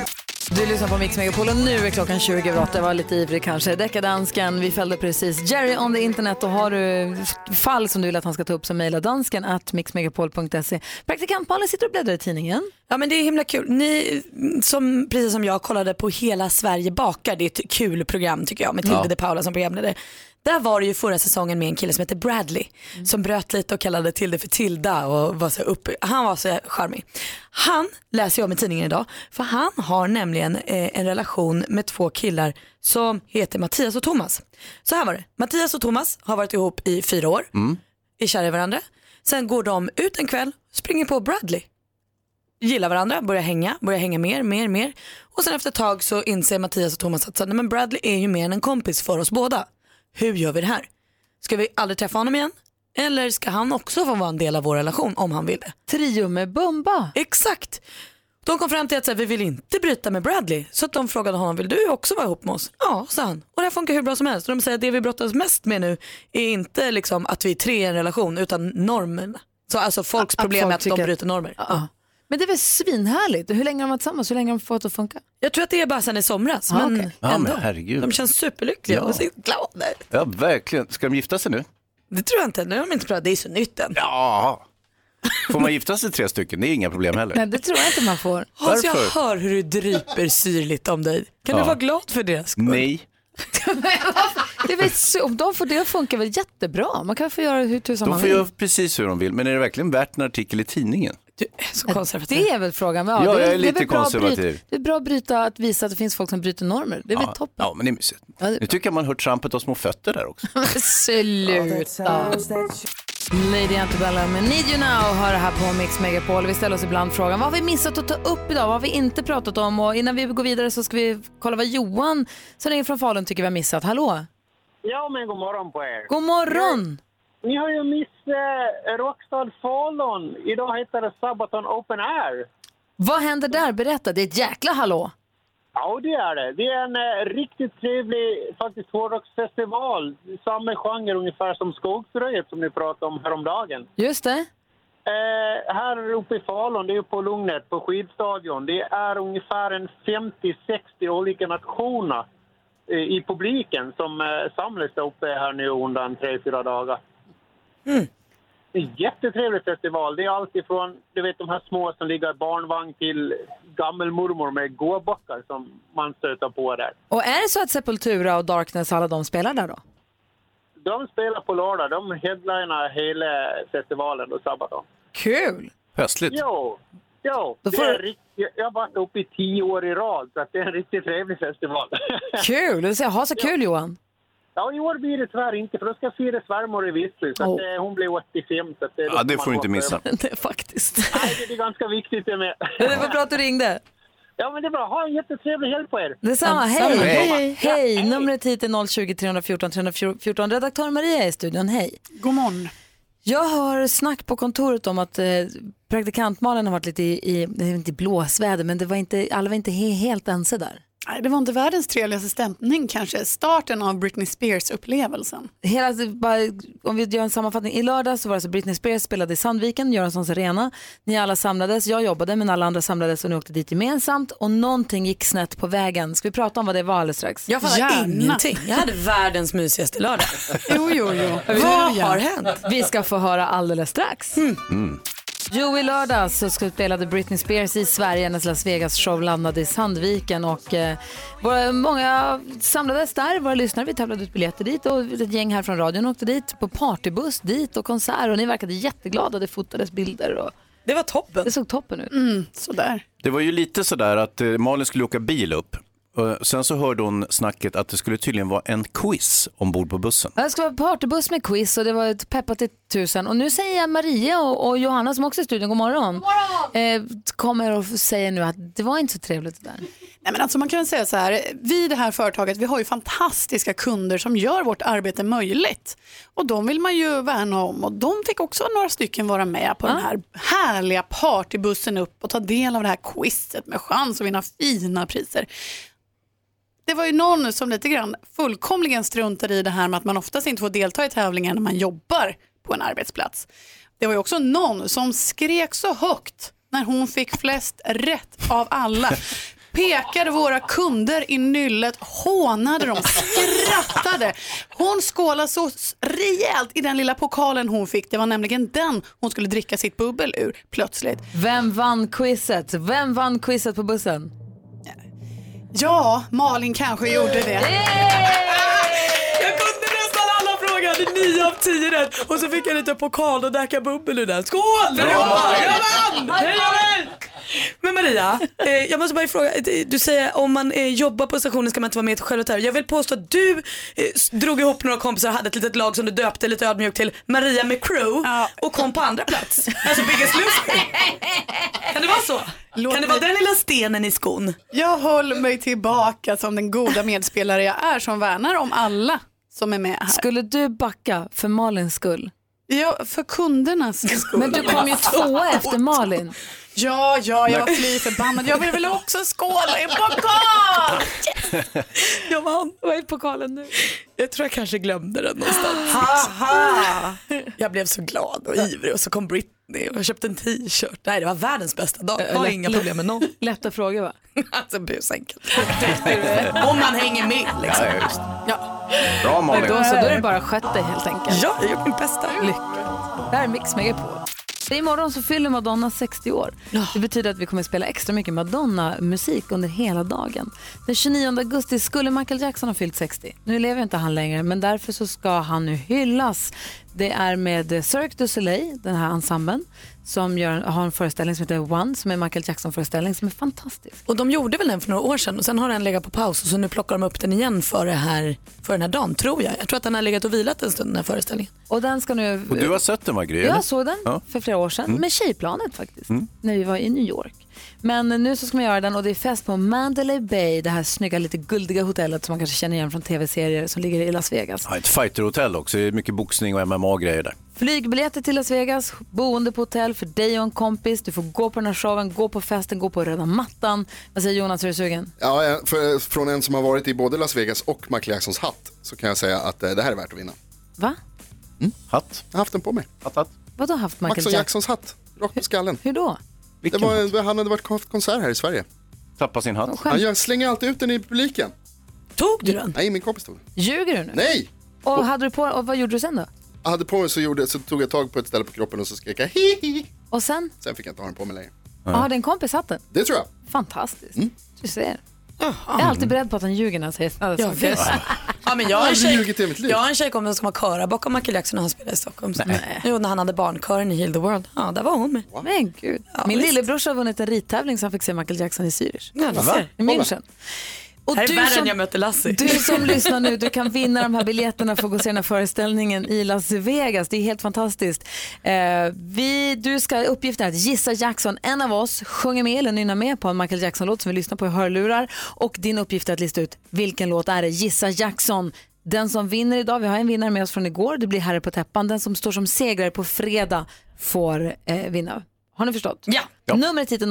A: Du lyssnar på Mix Megapol och nu är klockan 20 över 8. Jag var lite ivrig kanske. Deckardansken, vi fällde precis Jerry on the internet och har du f- fall som du vill att han ska ta upp så mejla dansken at mixmegapol.se. Praktikant Malin sitter och bläddrar i tidningen.
B: Ja men det är himla kul. Ni som precis som jag kollade på Hela Sverige bakar, det är ett kul program tycker jag med Tilde
A: Ja.
B: de Paula som programledare. Där var det ju förra säsongen med en kille som heter Bradley som bröt lite och kallade Tilde för Tilda och var så upp. Han var så charmig. Han läser jag om i tidningen idag för han har nämligen eh, en relation med två killar som heter Mattias och Thomas. Så här var det, Mattias och Thomas har varit ihop i fyra år,
C: Mm.
B: är kära i varandra. Sen går de ut en kväll, springer på Bradley gillar varandra, börjar hänga, börjar hänga mer, mer, mer. Och sen efter ett tag så inser Mattias och Thomas att så, nej, men Bradley är ju mer än en kompis för oss båda. Hur gör vi det här? Ska vi aldrig träffa honom igen? Eller ska han också få vara en del av vår relation om han vill det?
A: Trio med Bumba.
B: Exakt. De kom fram till att så här, vi vill inte bryta med Bradley. Så att de frågade honom, vill du också vara ihop med oss? Ja, sa han. Och det funkar hur bra som helst. Och de säger att det vi brottas mest med nu är inte liksom att vi är tre i en relation utan normen. Så alltså folks
A: Att
B: problem
A: folk
B: är att de
A: tycker-
B: bryter normer.
A: Ja. Men det är väl svinhärligt? Hur länge har de varit tillsammans? Hur länge har de fått att funka?
B: Jag tror att det är bara sen i somras.
A: Ja,
B: men
A: okej.
C: Ja,
B: ändå.
C: men herregud.
B: De känns superlyckliga
C: Ja.
B: och så glada.
C: Ja, verkligen. Ska de gifta sig nu?
B: Det tror jag inte. Nu har de inte pratat. Det är så nytt än.
C: Ja. Får man gifta sig tre stycken? Det är inga problem heller.
A: Nej, det tror jag inte man får.
B: [laughs] Hans, jag
C: Varför?
B: hör hur du dryper syrligt om dig. Kan
C: Ja.
B: du vara glad för deras skull?
C: Nej.
A: det är väl så, om de får det att funka väl jättebra. Man kan få göra hur tusan
C: De
A: man
C: får
A: vill.
C: göra precis hur de vill, men är det verkligen värt en artikel i tidningen?
A: Det är väl frågan.
C: Ja,
A: det
C: jag är
A: det
C: lite
A: väl bra att
C: konservativ.
A: bryta- Det är bra att bryta, att visa att det finns folk som bryter normer. Det är väl
C: ja.
A: toppen.
C: Ja, men det är mysigt. Nu tycker jag man hör trampet av små fötter där också.
A: [laughs] Sluta. Lady Antebellum med Need You Now hör här på Mix Megapol. Vi ställer oss ibland frågan vad har vi missat att ta upp idag? Vad har vi inte pratat om? Och innan vi går vidare så ska vi kolla vad Johan som ringer från Falun tycker vi har missat. Hallå?
P: Ja, men god morgon på er.
A: God morgon!
P: Ni har ju missat eh, Rockstad Falun. Idag heter det Sabaton Open Air.
A: Vad händer där? Berätta, det är ett jäkla hallå.
P: Ja, det är det. Det är en eh, riktigt trevlig faktiskt hårdrocksfestival. Samma genre ungefär som Skogsröjet som ni pratade om häromdagen.
A: Just det.
P: Eh, här uppe i Falun, det är ju på Lugnet, på skidstadion. Det är ungefär en 50-60 olika nationer eh, i publiken som eh, samlas där uppe här nu under en tre, fyra dagar. Det är en jättetrevlig festival. Det är allt ifrån du vet, de här små som ligger i barnvagn till gammelmormor med gåbockar som man stöter på där.
A: Och är det så att Sepultura och Darkness, alla de spelar där då?
P: De spelar på lördag. De headlinar hela festivalen då, Sabaton.
A: Kul!
C: Höstligt.
P: Jo, jo.
A: Då
P: Det
A: får
P: är
A: du-
P: rikt... jag- Jag har varit uppe i tio år i rad, så att det är en riktigt trevlig festival. [laughs]
A: Kul! Du säger, ha så kul Johan.
P: ja, i år blir det tyvärr inte, för då ska jag fira svärmor i Visby. Så att, eh, hon blir 85. Så att, eh, då
C: Ja, det
P: man
C: får du inte
P: gå
C: missa.
P: över.
A: [laughs] Det är faktiskt.
P: Nej, det är ganska viktigt det med.
A: Det var bra att du ringde.
P: Ja, men det är bra. Ha en jättetrevlig helg på er.
A: Detsamma, hej! Hej, hej. Numret hit är 020 314 314. Redaktör Maria är i studion, hej.
G: God morgon.
A: Jag hör snack på kontoret om att eh, praktikantmalen har varit lite i, i det är inte i blåsväder, men det var inte, alla var inte he, helt ense där.
G: Nej, Det var inte världens trevligaste stämning kanske, starten av Britney Spears-upplevelsen.
A: Hela, alltså, bara, om vi gör en sammanfattning, i lördags så var det alltså Britney Spears spelade i Sandviken, Göranssons arena. Ni alla samlades, jag jobbade men alla andra samlades och ni åkte dit gemensamt och någonting gick snett på vägen. Ska vi prata om vad det var alldeles strax?
B: Jag fattar ingenting. Jag hade världens mysigaste [laughs] lördag.
G: jo, jo, jo.
A: Vad
B: har hänt?
A: Vi ska få höra alldeles strax.
G: Mm.
D: Hmm.
A: Jo, i lördags så ska- spelade Britney Spears i Sverige. Hennes Las Vegas-show landade i Sandviken. Och, eh, våra, många samlades där, våra lyssnare. Vi tävlade ut biljetter dit och ett gäng här från radion åkte dit på partybuss dit och konsert. Och ni verkade jätteglada. Det fotades bilder. Och...
B: Det var toppen.
A: Det såg toppen ut.
G: Mm, sådär.
C: Det var ju lite sådär att eh, Malin skulle åka bil upp. Eh, Sen så hörde hon snacket att det skulle tydligen vara en quiz ombord på
A: [laughs]
C: bussen.
A: Ja, Det ska vara partybuss med quiz och det var ett peppat till tusen. Och nu säger jag Maria och, och Johanna som också är i studion, god morgon. Eh, kommer och säger nu att det var inte så trevligt det där.
G: Nej, men alltså man kan väl säga så här, vi i det här företaget vi har ju fantastiska kunder som gör vårt arbete möjligt. Och de vill man ju värna om och de fick också några stycken vara med på den här härliga partybussen upp och ta del av det här quizet med chans att vinna fina priser. Det var ju någon som lite grann fullkomligen struntade i det här med att man oftast inte får delta i tävlingar när man jobbar på en arbetsplats. Det var ju också någon som skrek så högt när hon fick flest rätt av alla. Pekade våra kunder i nyllet, hånade dem, skrattade. Hon skålade så s- rejält i den lilla pokalen hon fick. Det var nämligen den hon skulle dricka sitt bubbel ur plötsligt.
A: Vem vann quizet? Vem vann quizet på bussen?
G: Ja, Malin kanske gjorde det.
B: Jag kunde nästan alla frågor. Jag hade nio av tio rätt. Och så fick jag lite pokal och däcka bubbel ur den. Skål! Jag vann! Jag vann! Hej, jag vann! Men Maria, eh, jag måste bara fråga. eh, Du säger om man eh, jobbar på stationen ska man inte vara med till självhotell. Jag vill påstå att du eh, s- drog ihop några kompisar och hade ett litet lag som du döpte lite ödmjukt till Maria med crew och kom på andra plats. Alltså Biggest Loser. Kan det vara så? kan det vara den lilla stenen i skon?
G: Jag höll mig tillbaka som den goda medspelare jag är som värnar om alla som är med här.
A: Skulle du backa för Malins skull?
G: Ja, för kundernas skull.
A: Men du kom ju tvåa efter Malin.
G: Ja, ja, jag var fly förbannad. Jag vill väl också skåla i en pokal!
B: Jag vann. Vad är pokalen nu? Jag tror jag kanske glömde den någonstans.
A: Ah.
G: Haha.
B: Jag blev så glad och ivrig och så kom Britney och jag köpte en t-shirt. Nej, det var världens bästa dag. Jag har
A: Lätt-
B: inga problem med någon.
A: Lätta frågor va?
B: [laughs] alltså busenkelt. Om man hänger med liksom.
A: Ja,
B: just.
C: Bra
A: Men
C: Malin.
A: då så, då är det bara att sköta dig helt enkelt.
B: Ja, jag har gjort mitt bästa.
A: Lycka. Det här är Mix Megapol. Imorgon så fyller Madonna 60 år. Det betyder att vi kommer spela extra mycket Madonna-musik under hela dagen. Den 29 augusti skulle Michael Jackson ha fyllt 60. Nu lever inte han längre, men därför så ska han nu hyllas. Det är med Cirque du Soleil, den här ensemblen, som gör, har en föreställning som heter One, som är Michael Jackson-föreställning som är fantastisk.
B: Och de gjorde väl den för några år sedan och sen har den legat på paus och så nu plockar de upp den igen för, det här, för den här dagen tror jag. Jag tror att den har legat och vilat en stund den här föreställningen.
A: Och den ska nu...
C: Och du har sett den va, Gry? eller?
A: Jag såg den
C: Ja.
A: för flera år sedan
C: Mm.
A: med tjejplanet faktiskt,
C: Mm.
A: när vi var i New York. Men nu så ska man göra den och det är fest på Mandalay Bay, det här snygga lite guldiga hotellet som man kanske känner igen från tv-serier som ligger i Las Vegas.
C: Ja, ett fighterhotell också, det är mycket boxning och MMA-grejer där.
A: Flygbiljetter till Las Vegas, boende på hotell för dig och en kompis. Du får gå på den här showen, gå på festen, gå på röda mattan. Vad säger Jonas, är du sugen?
M: Ja, eh, för, från en som har varit i både Las Vegas och Michael Jacksons hatt så kan jag säga att eh, det här är värt att vinna. Mm.
A: Va?
C: Hatt?
M: Jag har haft den på mig.
C: Hatt, hatt.
A: Vadå haft Michael
M: Michael
A: Jackson?
M: Jacksons hatt, rakt på skallen.
A: Hur då?
M: Det var, en- han hade varit haft konsert här i Sverige.
C: Tappa sin hatt.
M: Ja, jag slänger alltid ut den i publiken.
B: Tog du den?
M: Nej, min kompis tog den.
A: Ljuger du nu?
M: Nej!
A: Och, hade du på, och vad gjorde du sen då?
M: Jag hade på mig så, gjorde, så tog jag tag på ett ställe på kroppen och så skrek jag hihi.
A: Och sen?
M: Sen fick jag inte ha den på mig längre.
A: Ja. Har din kompis hatten?
M: Det tror jag.
A: Fantastiskt. Du ser. Jag är alltid beredd på att han ljuger när han säger sådana
B: Ja,
A: saker.
B: visst. Ja, men jag, har en
A: Aldrig
B: tjej,
A: ljugit i mitt liv.
B: jag har en tjejkompis som var köra bakom Michael Jackson när han spelade i Stockholm. Nej. Jo, när han hade barnkören i Heal the World. Ja, där var hon med.
A: Men gud.
B: Ja,
A: Min
B: visst.
A: lillebrorsa har vunnit en ridtävling så han fick se Michael Jackson i Zürich.
B: Ja, du ser.
A: I München.
B: Och här är
A: du
B: värre
A: som-
B: än jag mötte Lassie.
A: Du som lyssnar nu, du kan vinna de här biljetterna för att gå och se den här föreställningen i Las Vegas. Det är helt fantastiskt. Eh, vi, du ska, uppgiften är att gissa Jackson. En av oss sjunger med eller nynnar med på en Michael Jackson-låt som vi lyssnar på i hörlurar. Och din uppgift är att lista ut vilken låt är det? Gissa Jackson. Den som vinner idag, vi har en vinnare med oss från igår, det blir Herre på täppan. Den som står som segrare på fredag får eh, vinna. Har ni förstått?
B: Ja.
A: Numret hit är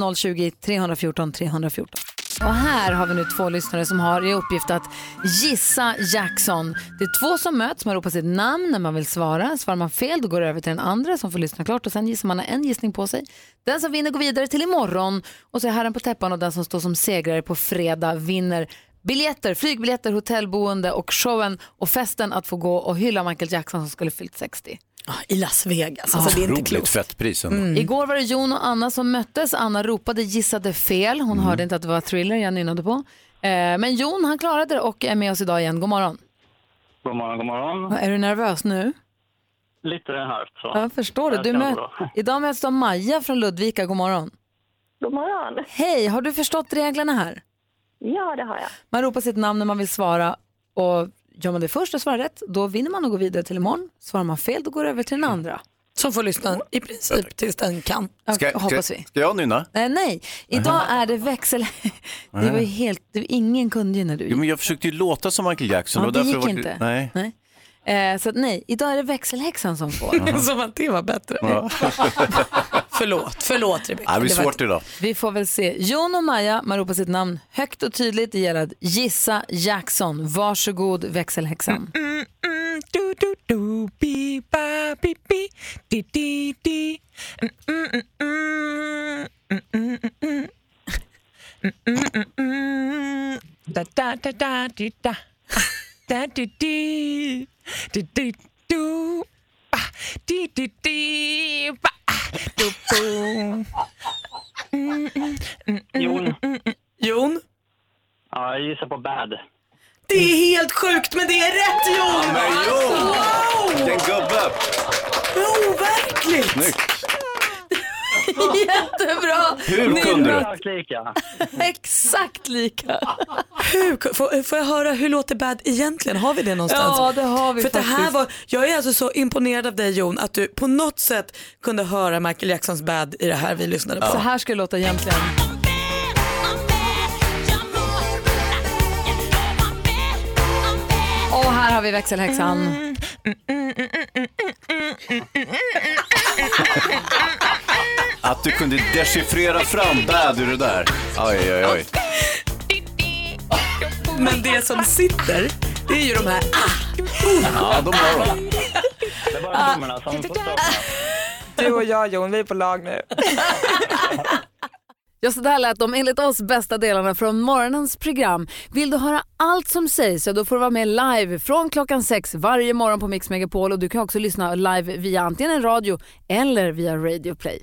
A: 020-314 314. Och här har vi nu två lyssnare som har i uppgift att gissa Jackson. Det är två som möts, man ropar sitt namn när man vill svara. Svarar man fel då går det över till den andra som får lyssna klart och sen gissar man har en gissning på sig. Den som vinner går vidare till imorgon och så är herren på täppan och den som står som segrare på fredag vinner biljetter, flygbiljetter, hotellboende och showen och festen att få gå och hylla Michael Jackson som skulle fyllt 60.
B: Ah, I Las Vegas. Alltså, det är inte
C: Otroligt
B: klokt.
C: fett pris ändå.
A: Mm. Igår var det Jon och Anna som möttes. Anna ropade gissade fel. Hon hörde inte att det var thriller jag nynnade på. Eh, Men Jon han klarade det och är med oss idag igen. God morgon.
R: God morgon, god morgon.
A: Är du nervös nu?
R: Lite halvt så.
A: Jag förstår det. Du
R: Jag
A: mö-
R: tror [laughs]
A: idag möts du av Maja från Ludvika. God morgon.
R: God morgon.
A: Hej, har du förstått reglerna här?
R: Ja, det har jag.
A: Man ropar sitt namn när man vill svara och gör man det först och svarar rätt, då vinner man och går vidare till imorgon. Svarar man fel, då går det över till den andra.
B: Som får lyssna i princip tills den kan.
A: Ska- hoppas vi.
C: Ska jag nynna?
A: Eh, nej, idag är det växel... [laughs] det var ju helt... det- Ingen kunde ju när du
C: Jo, men jag försökte ju låta som Michael Jackson.
A: Ja,
C: var
A: det
C: därför
A: gick
C: jag var-
A: inte.
C: Nej.
A: Eh, så att nej, idag är det växelhäxan [laughs] som får.
C: Jaha. Som
B: att det var bättre.
C: Ja.
B: [laughs] förlåt, förlåt Rebecka.
C: Ja, det blir
A: Det var-
C: svårt idag.
A: Vi får väl se. Jon och Maja, man ropar sitt namn högt och tydligt. Det gäller att gissa Jackson.
C: [laughs]
A: Varsågod växelhäxan.
I: Du, du, du, bi, ba, bi, bi, di, di, di. Mm, mm, mm, mm, mm, mm, mm. Mm, mm, mm, mm. Da, da, da, da, di, da. Da, di, di. Di, di, du. Ba, di, di, di, ba. Du, bu. Mm, mm, mm,
R: Jon.
I: mm, mm.
B: Jon?
R: Ja, jag gissar på Bad.
B: Det är helt sjukt men det är rätt Jon!
R: men Jon!
B: Wow!
R: Den
C: gubbe!
B: Overkligt!
A: Jättebra!
R: Hur
B: Ni-
R: kunde du? Lika.
A: Exakt lika.
B: Hur, ku- får, får jag höra hur låter Bad egentligen? Har vi det någonstans?
A: Ja, det har vi
B: För att Det här
A: faktiskt.
B: var, jag är alltså så imponerad av dig Jon att du på något sätt kunde höra Michael Jacksons Bad i det här vi lyssnade på.
A: Så här ska det låta egentligen. Och här har vi växelhäxan.
C: Ja, [laughs] Att du kunde dechiffrera fram bad ur det där. Oj, oj, oj.
B: Men det som sitter, det är ju de här
C: Ja, de har de.
I: Det är bara blommorna som Du och jag Jon, vi är på lag nu.
A: Ja, så där lät de enligt oss bästa delarna från morgonens program. Vill du höra allt som sägs så då får du vara med live från klockan sex varje morgon på Mix Megapol och du kan också lyssna live via antingen en radio eller via Radio Play.